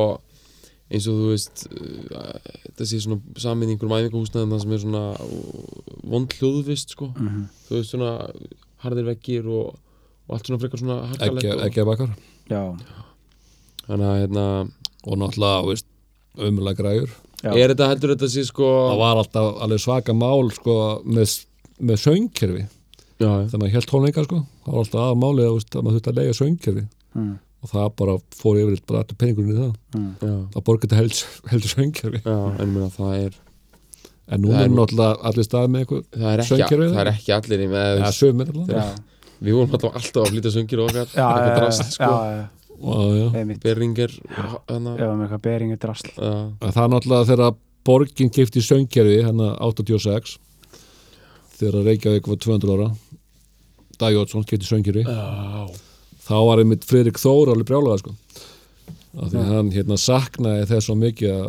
C: eins og þú veist uh, þetta sé svona samið í einhverjum æfingahúsnaðum það sem er svona uh, vond hljóðvist sko
B: mhm,
C: þú veist svona harðir veggir og, og allt svona frekar svona harkalegt
D: ekki,
C: og,
D: ekki að bakar
B: já,
C: þannig að hérna
D: og náttúrulega, þú veist, ömulega græjur
B: já,
C: er þetta heldur þetta sé sko
D: það var alltaf alveg svaka mál sko, með, með söngkerfi
C: já,
D: þegar maður held tónleika sko, það var alltaf aðmálið að, veist, að maður þurfti að leiga söngkerfi
C: Hmm.
B: mhm,
D: og það bara fór yfir bara alltaf peningurinn í það
B: mhm,
C: já,
D: að borga þetta held, held söngkerfi
C: já, en ég meina það er
D: en núna
C: Það er
D: er
C: nú-
D: náttúrulega allir stað með eitthvað
C: það er ekki,
D: Söngkerfið?
C: það er ekki allir í með
D: eða
C: ja,
D: sömur allavega
B: já,
C: við vorum alltaf alltaf að flytja söngir og okkar
B: já,
C: eitthvað
B: já,
C: drast
B: já,
C: sko hérna.
B: já,
D: og, já.
B: einmitt,
C: berringer þannig
B: ef með eitthvað beringi drasl,
C: að
D: En það er náttúrulega þegar borgin kipti söngkerfi hérna 86 þegar Reykjavík var 200 ára Dag Jótsson kipti söngkerfi
C: já
D: þá var einmitt Friðrik Þór alveg brjálega sko af því hann hérna saknaði þess svo mikið að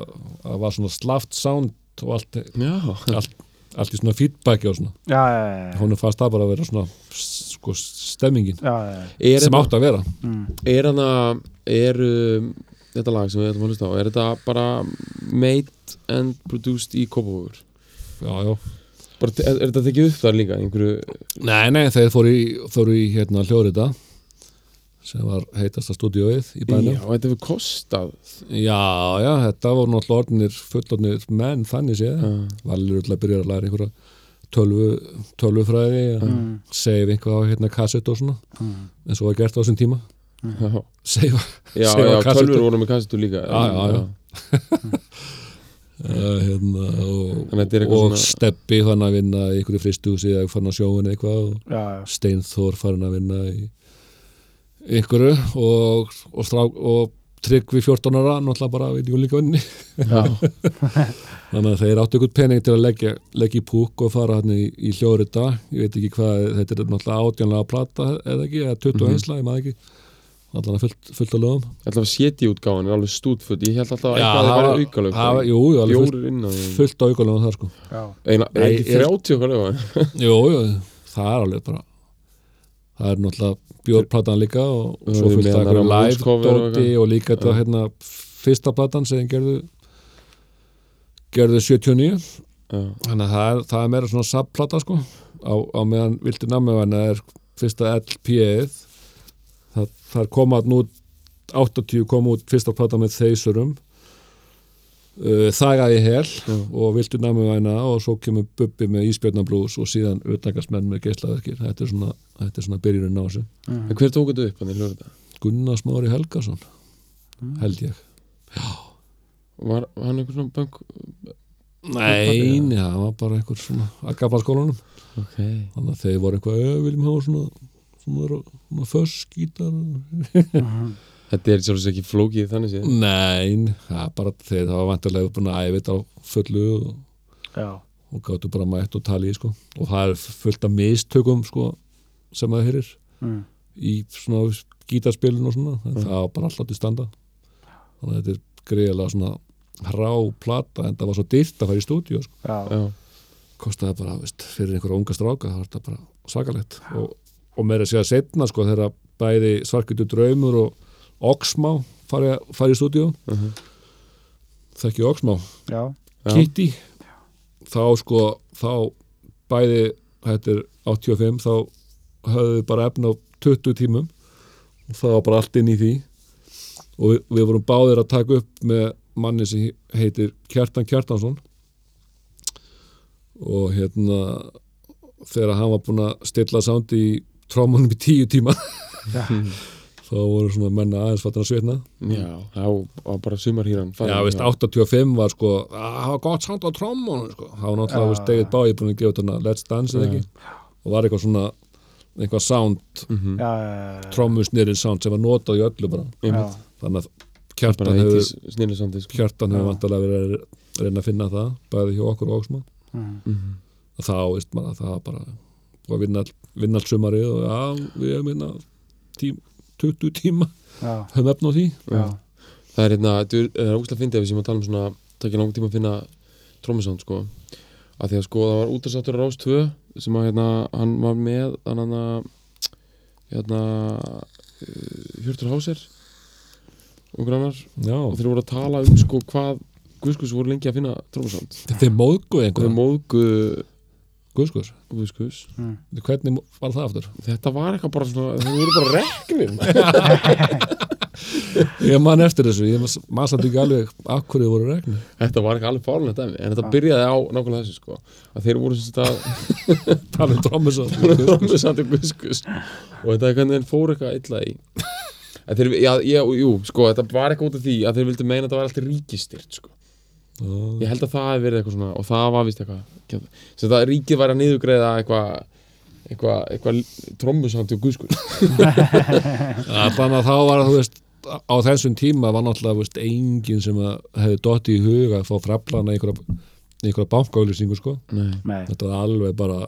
D: að var svona slaft sound og allt,
C: Já,
D: allt, allt í svona feedbacki og svona
B: já, já, já, já,
D: hún er fast að bara vera svona sko stemmingin
B: já, já, já,
C: er
D: sem
C: þetta-
D: átt að vera
B: mhm,
C: er hana, er um, þetta lag sem við ætlum að hlusta á, er þetta bara made and produced í Kópavogur?
D: já, já.
C: Bara, te- er, er þetta tekið upp þar líka, einhverju,
D: Nei, nei, þeir fóru í, fóru í hérna hljóðrita sem var heitasta stúdíóið í bænum
C: já, þetta hefur kostað
D: Já, já, þetta voru náttúrulega orðinir fullorðnir menn þannig séð
C: uh,
D: Valur er alltaf að byrja að læra einhverja tölvu, tölvufræði mm.
B: mhm,
D: save einhvað á hérna kassett og svona
B: mhm,
D: en svo var gert á þessum tíma
C: já,
D: save,
C: já, já,
D: Sem var kassettu.
C: tölvur voru með kassetu líka
D: Já, já, já. uh, hérna, og,
C: Þannig að þetta er eitthvað
D: og
C: svona-
D: steppi fann að vinna í einhverju fristu síðan fann að sjóin eitthvað og
B: já, já,
D: Steinþór fann að vinna í einhverju og, og, strá, og tryggvi 14 ára náttúrulega bara við júlíkaunni
C: já,
D: þannig að þeir áttu ykkur pening til að leggja, leggja í púk og fara hann í, í hljóðrita ég veit ekki hvað, þetta er náttúrulega átjónlega að plata eða ekki, eða 20
C: Mhm.
D: einsla, ég maður ekki allan að fullt, fullt að lögum
C: alltaf séti útgáðan er alveg stútfull ég held alltaf að
D: Já,
C: eitthvað að
D: það
C: það
D: var-
C: væri aukalög
D: Það- jú, jú, alveg fullt,
C: sko. fjórir inn á því
D: fullt á aukalögum þar sko
B: Já.
C: eina, er
D: Nei,
C: ekki
D: ég-
C: 30 okkar lög
D: jú, jú, það er alveg bara það er náttúrulega bjórplatan líka og, og svo
C: Við
D: fullt að
C: meðan
D: einhverju
C: að
D: live
C: múskover og
D: dóti
C: eitthvað.
D: og líka þetta hérna fyrsta platan sem þeir gerðu gerðu 79
C: já,
D: þannig að það er, það er meira svona subplata sko á, á meðan vildi namnvæna er fyrsta LP-ið það, það er koma nú 80 kom út fyrsta plata með þeysurum uh, þagaði hel og vildi namnvæna og svo kemur Bubbi með Ísbjörnablús og síðan utnækastmenn með geislaverkir þetta er svona, þetta er svona byrjurinn á þessu
C: en hver tók þetta upp hann í hljóðrita
D: Gunnar Smári Helgason held ég
C: var hann einhver svona bank
D: Nei, já, það var bara einhver svona að gafla skólanum
C: ok,
D: þannig að þeir voru eitthvað "Eh, við viljum hafa svona svona, svona föskítar
C: þetta er sjálfsög ekki flókið þannig
D: Mm.
C: séð
D: nein, það er bara þeir það var vantilega búin að æfa þetta á fullu og,
B: Já.
D: og gáttu bara mætt og tala í sko. og það er fullt af mistökum sko, sem það heyrir
B: Mm.
D: í svona gítarspilun og svona en það var bara alltaf til standa þannig að þetta er greiðlega svona hrá plata en það var svo dyrt að fara í stúdíu sko.
B: Já.
C: já,
D: kostaði bara, veist, fyrir einhverja unga stráka það var þetta bara svakalegt og, og meira að segja setna, sko, þegar bæði svarkvöldu draumur og Oxmá fari, fari í stúdíu uh
C: Mhm.
D: þekki Oxmá
B: Já.
C: Já.
D: Kitty þá sko, þá bæði þetta er 85 þá höfðu bara efna á 20 tímum og það var bara allt inn í því og við, við vorum báðir að taka upp með manni sem heitir Kjartan Kjartansson og hérna þegar hann var búinn að stilla sándi í trómanum í tíu tíma
B: Já.
D: þá voru svona menna aðeins fattin að svitna
C: já, þá var bara sumarhýran farin,
D: Mm. Já, veist, 85 var sko að það var gott sound á trommunum sko það var náttúrulega,
B: Já.
D: veist, David Bowie búin að gefa út hana Let's Dance eða ekki og var eitthvað svona, eitthvað sound
B: Já. Já.
D: trommusnýrin sound sem var notað í öllu bara
B: Já.
C: einmitt,
D: þannig að
C: bara
D: kjartan
C: heiti
D: hefur
C: snillisandi sko.
D: kjartan hefur vantarlega verið að reyna að finna það bæði hjá okkur og óksma
B: Mm.
D: og þá, veist maður, að það var bara og að vinna, all- vinna allt sumarið og já, við hefum hérna tím, 20 tíma,
B: Já.
D: höfum efna á því
B: Já.
C: það er hérna, þetta er- það er ógstlega fyndið ef við séum að tala um svona, takkja langt tíma að finna trómusánd sko að því að sko það var útarsáttur á Rás 2 sem að hérna, hann var með hann hann að hérna eh, Hjörtur Háser og grannar
D: já,
C: og þeir voru að tala um sko hvað Guðskus voru lengi að finna Sko. trómusánd
D: þetta er móðguð
C: og þeir
D: einhverjum
C: móðgu
D: guðskur,
C: Guðskus
B: Mm.
D: hvernig mó- var það aftur?
C: þetta var eitthvað bara svona, þeir voru bara reknir
D: Ég man eftir þessu, ég man samt ekki alveg af hverju þið voru regni.
C: þetta var eitthvað alveg fárlega dæmi en þetta byrjaði á nákvæmlega þessu sko að þeir voru sem sagt að
D: Tala um trommis og
C: Rómusandi Guðskus og þetta er hvernig þeir fóru eitthvað illa í En þeir, já, já, jú, sko, þetta var eitthvað út af því að þeir vildu meina að þetta var alltaf ríkistyrt sko.
D: Já,
C: ég held að það hefði verið eitthvað svona og það var vist eitthvað sem það ríkið væri að niðurgreiða eitthvað eitthvað, eitthvað trommusandi og guðskus
D: Þannig að þá var, þú veist, á þessum tíma var náttúrulega, þú veist, enginn sem að hefði dotti í huga að fá fraflana í einhverja, í einhverja bankaauðlýsingu, sko.
C: Nei,
B: Nei.
D: Þetta var alveg bara,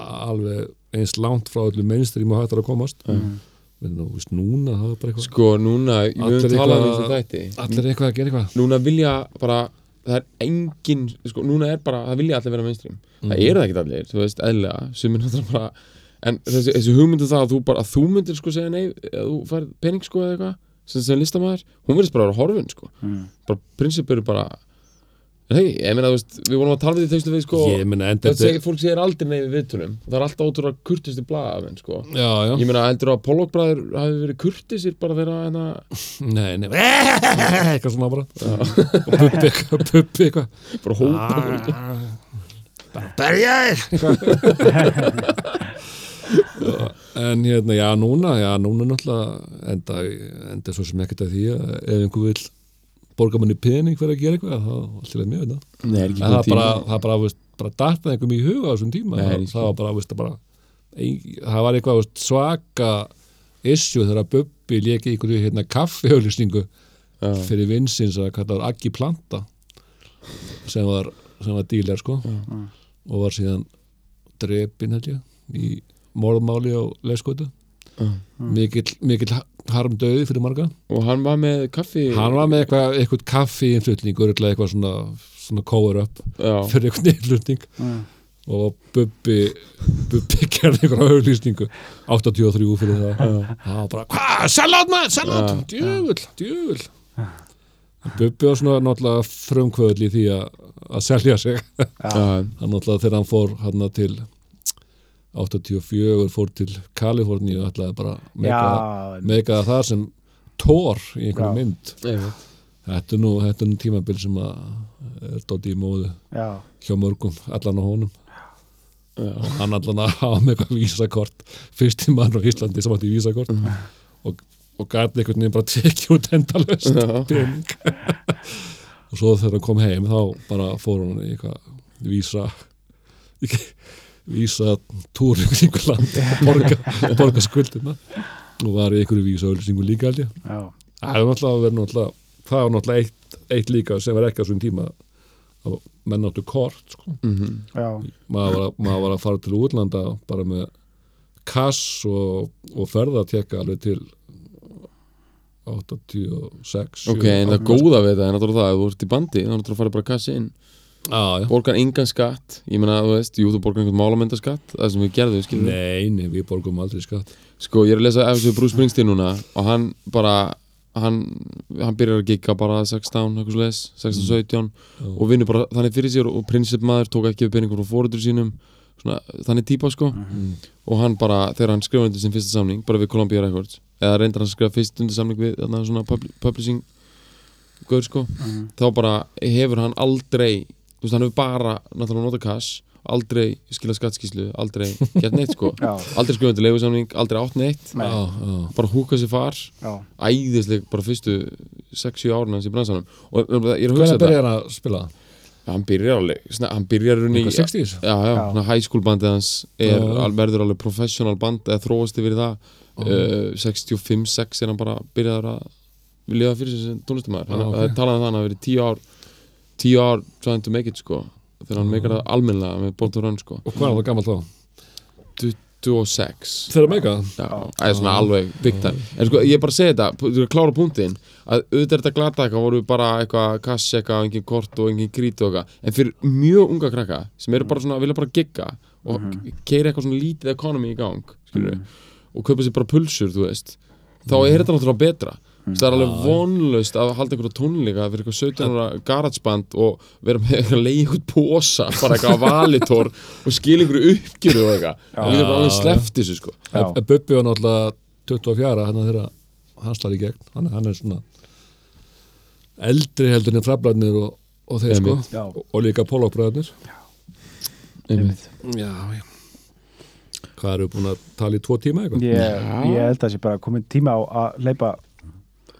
D: alveg eins langt frá öllu mainstream og hættar að komast. Mm. En þú veist, núna það var bara eitthvað,
C: sko, núna við
D: Allir
C: höfum talað um
D: eitthvað-
C: þetta þætti
D: allir eitthvað að gera eitthvað.
C: núna vilja bara það er engin, sko, núna er bara það vilja allir vera mainstream,
D: Mhm.
C: það eru það ekki allir þú veist, eðlilega, sem er náttúrulega bara en þessi, þessi hugmyndu það að þú bara að þú myndir sko segja nei, að þú fær pening sko eða eitthvað, sem, sem listamæður hún verðist bara að vera horfin sko
B: Mm.
C: bara prinsip eru bara hei, ég meina, þú veist, við vorum að tala við því tegstu við sko,
D: Ég meina, enda
C: þetta
D: þetta,
C: segir, fólk segir aldrei nei við viðtölum, það er alltaf ótrúlega kurtisti blaða af henn sko,
D: já, já.
C: ég meina, heldur að Pollock bræður hafi verið kurtisir bara þeirra hérna,
D: Nei, nei, eitthvað svona bara og bubbi eitthvað, bubbi eitthvað
C: bara
D: Ah.
C: hópa
D: bara berja þér en hérna, já, núna já, núna náttúrulega enda, enda svo sem ekkert að því að ef einhver vil borga manni pening fyrir að gera eitthvað þá allir er mjög þetta
C: Nei, er ekki
D: en það
C: kominn
D: er bara,
C: tími.
D: það er bara, veist, bara dattaði einhverjum í huga á þessum tíma
C: Nei,
D: það,
C: sko.
D: það var bara, veist, það bara ein, það var eitthvað veist, svaka issue þegar að Bubbi leki í einhverju hérna kaffihauðlýsningu
C: já,
D: fyrir vinsins að kalla það Aggi Planta sem var, sem var dílar sko og var síðan drepin held ég í morðmáli á leskotu
C: já.
D: mikill, mikill harm döði fyrir marga
C: og hann var með kaffi
D: hann var með eitthvað, eitthvað kaffi innflutning örgulega eitthvað svona, svona cover up
C: já,
D: fyrir eitthvað innflutning og Bubbi Bubbi gerði eitthvað auðlýsningu 83 fyrir það það var bara, hvað, sellátt maður, sellátt djöfull, djöfull Bubbi var svona náttúrulega frumkvöðl í því að, að selja sig
C: já,
D: hann náttúrulega þegar hann fór hann til 84 fór til Kaliforni og ætlaði bara að meika-
B: já,
D: meika það þar sem tór í einhverju
B: Já.
D: mynd
C: einmitt.
D: þetta er nú, þetta er nú tímabil sem að er dótt í móðu
B: já,
D: hjá mörgum allan á honum
C: já,
D: og hann allan að hafa með eitthvað vísakort fyrsti mann á Íslandi sem átti vísakort og, og gæti einhvern veginn bara tekið út endalaust
C: Já.
D: pening og svo þegar hann kom heim þá bara fór hann í eitthvað vísa vísa túrin í einhver land og borga, borga skuldina og var í einhverju vísa auðlýsingu líka held ég
B: já,
D: það er náttúrulega verið náttúrulega það var náttúrulega eitt, eitt líka sem var ekki á þessum tíma að menn áttu kort sko
C: mhm,
B: já,
D: maður var, að- maður var að fara til útlanda bara með kass og, og ferðatekka alveg til 86
C: ok, en það góða við þetta er náttúrulega það, ef þú ert í bandi þá er náttúrulega að fara bara að kassa inn
D: ah,
C: borgar engan skatt, ég meina, þú veist, jú, þú borgar einhvern málamyndaskatt, það sem við gerðum, skilur
D: Nei, nei, við borgum aldrei skatt
C: Sko, ég er að lesa eftir Bruce Springsteen núna og hann bara hann, hann byrjar að gigga bara 16, eitthvað svo 16, 17 og vinnur bara þannig fyrir sér og prinsipmaður tók ekki við peningum frá fóröldur sínum svona, þannig típa sko og hann bara, þegar hann skrifa undir sinn fyrsta samning bara við Columbia Records eða reyndar hann að skrifa fyrst undir samning við þarna, svona pub- publishing gaur sko þá bara hefur hann aldrei þú veist, hann hefur bara náttúrulega nota cash aldrei skila skattskíslu, aldrei gett neitt sko
B: já,
C: aldrei skrifað til leigusamning, aldrei átt neitt
B: Nei.
D: ah, ah.
C: bara húka sér far,
B: já.
C: æðisleg bara fyrstu 6-7 árna hans í bransanum og nefnilega, ég er að hugsa
D: Hvernig
C: þetta
D: byrjar hann að spila?
C: hann byrjar alveg, sna- hann byrjar í rauninni-
D: Eitthvað 60s?
C: já, já,
B: Já.
C: já. high school bandið hans er,
D: Já.
C: al, verður alveg professional band eða þróast yfir í það uh, 65-6 er hann bara byrjaður að vilja það fyrir sér sem tónlistamæður
D: Já,
C: hann
D: ok.
C: okay. talaði um það, hann hafi verið 10 ár 10 ár trying to make it sko þegar hann meikar það almennilega með Born to Run sko
D: Og hvað er það gammal þá?
C: 26
D: Þeirra meika?
C: Já, það er svona alveg big time En sko, ég er bara að segja þetta, þú er að klára punktinn að auðvitað er þetta glata eitthvað, voru við bara eitthvað kass eitthvað, engin kort og engin grít og eitthvað en fyrir mjög unga krakka sem eru bara svona, vilja bara gigga og mm keira eitthvað svona lítið economy í gang skilur og kaupa sér bara pulsur, þú veist þá er þetta náttúrulega betra mm. það er alveg vonlaust að halda einhverja tónleika fyrir eitthvað 17 ára garatsband og vera með eitthvað leið eitthvað posa bara eitthvað á valitor og skil einhverju uppgjöru og eitthvað og við erum alveg sleppt þessu sko
B: Já.
D: En Bubbi var náttúrulega 24 hann er þeirra hanslar í gegn hann, hann er svona eldri heldur en frablarnir og, og þeir sko
C: Einmitt.
B: Já.
D: og, og líka pólokbröðarnir
C: Einmitt.
D: Já, já Hvað eru búin að tala í tvo tíma eitthvað?
B: Ég, ég held að sé bara komið tíma á að leipa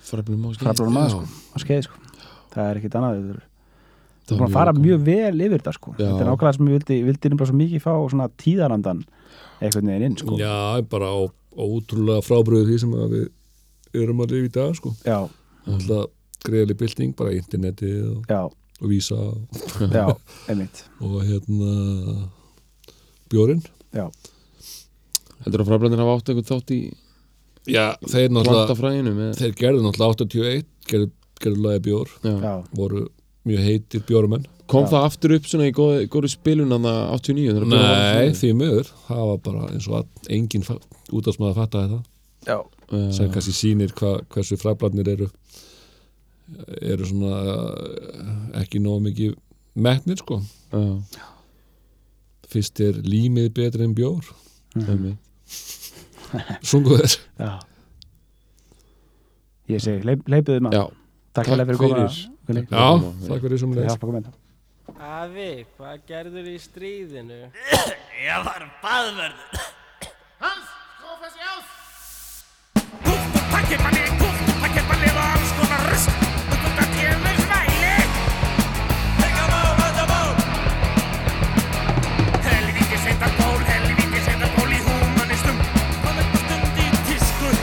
C: Fröflum á skeið
B: fraflunum að
C: Já.
B: sko, á skeið sko. það er ekkit annað þetta er-
C: Það
B: þú er
C: var
B: búin að fara
C: gaman.
B: mjög vel yfir þetta sko.
C: Já.
B: þetta er nákvæmlega sem ég vildi, vildi nefnilega svo mikið fá svona tíðarandan einhvern veginn inn sko.
D: Já, bara á, á ótrúlega frábröðu því sem að við erum að lifa í dag sko
B: já,
D: Alltaf greiðali bylting, bara internetið og,
B: já,
D: og vísa og,
B: já, einmitt
D: og hérna bjórinn
B: já,
C: Heldur að fræblendir hafa átt einhvern þátt í
D: Já, þeir náttúrulega
C: plantafræðinu með
D: þeir gerðu náttúrulega 81 gerðu, gerðu lagi bjór
C: Já.
B: já,
D: voru mjög heitir bjórumenn
C: Kom það aftur upp svona í góð- góðri spilun að 89 þegar byrjaði að
D: Nei,
C: vera
D: því miður, það var bara eins og að engin útásmaður fattaði það
B: já,
C: svona-
D: sem kannski sýnir hva, hversu frablarnir eru eru svona eh, ekki nóg mikið metnir sko
C: Já,
D: fyrst er límið betri en bjór
C: já, einmitt.
D: sungu þess
B: já. ég segi, leip, leipuðu maður
C: Já,
B: takk hérlega fyrir komuna Gulli.
D: já, það hverju sem
B: fyrir að
D: leys
B: hjálpa að koma inn
E: Afi, hvað gerður í stríðinu?
F: Ég var baðverður Hans, skró þessi ás Gúft og pakkið manni, gúft og pakkið manni og alls konar rust og gúft að ég með svæli Hengja má, hengja má Helvíti setar ból, helvíti setar ból í húmanistum Komið stund í tísku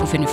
A: Þú finnir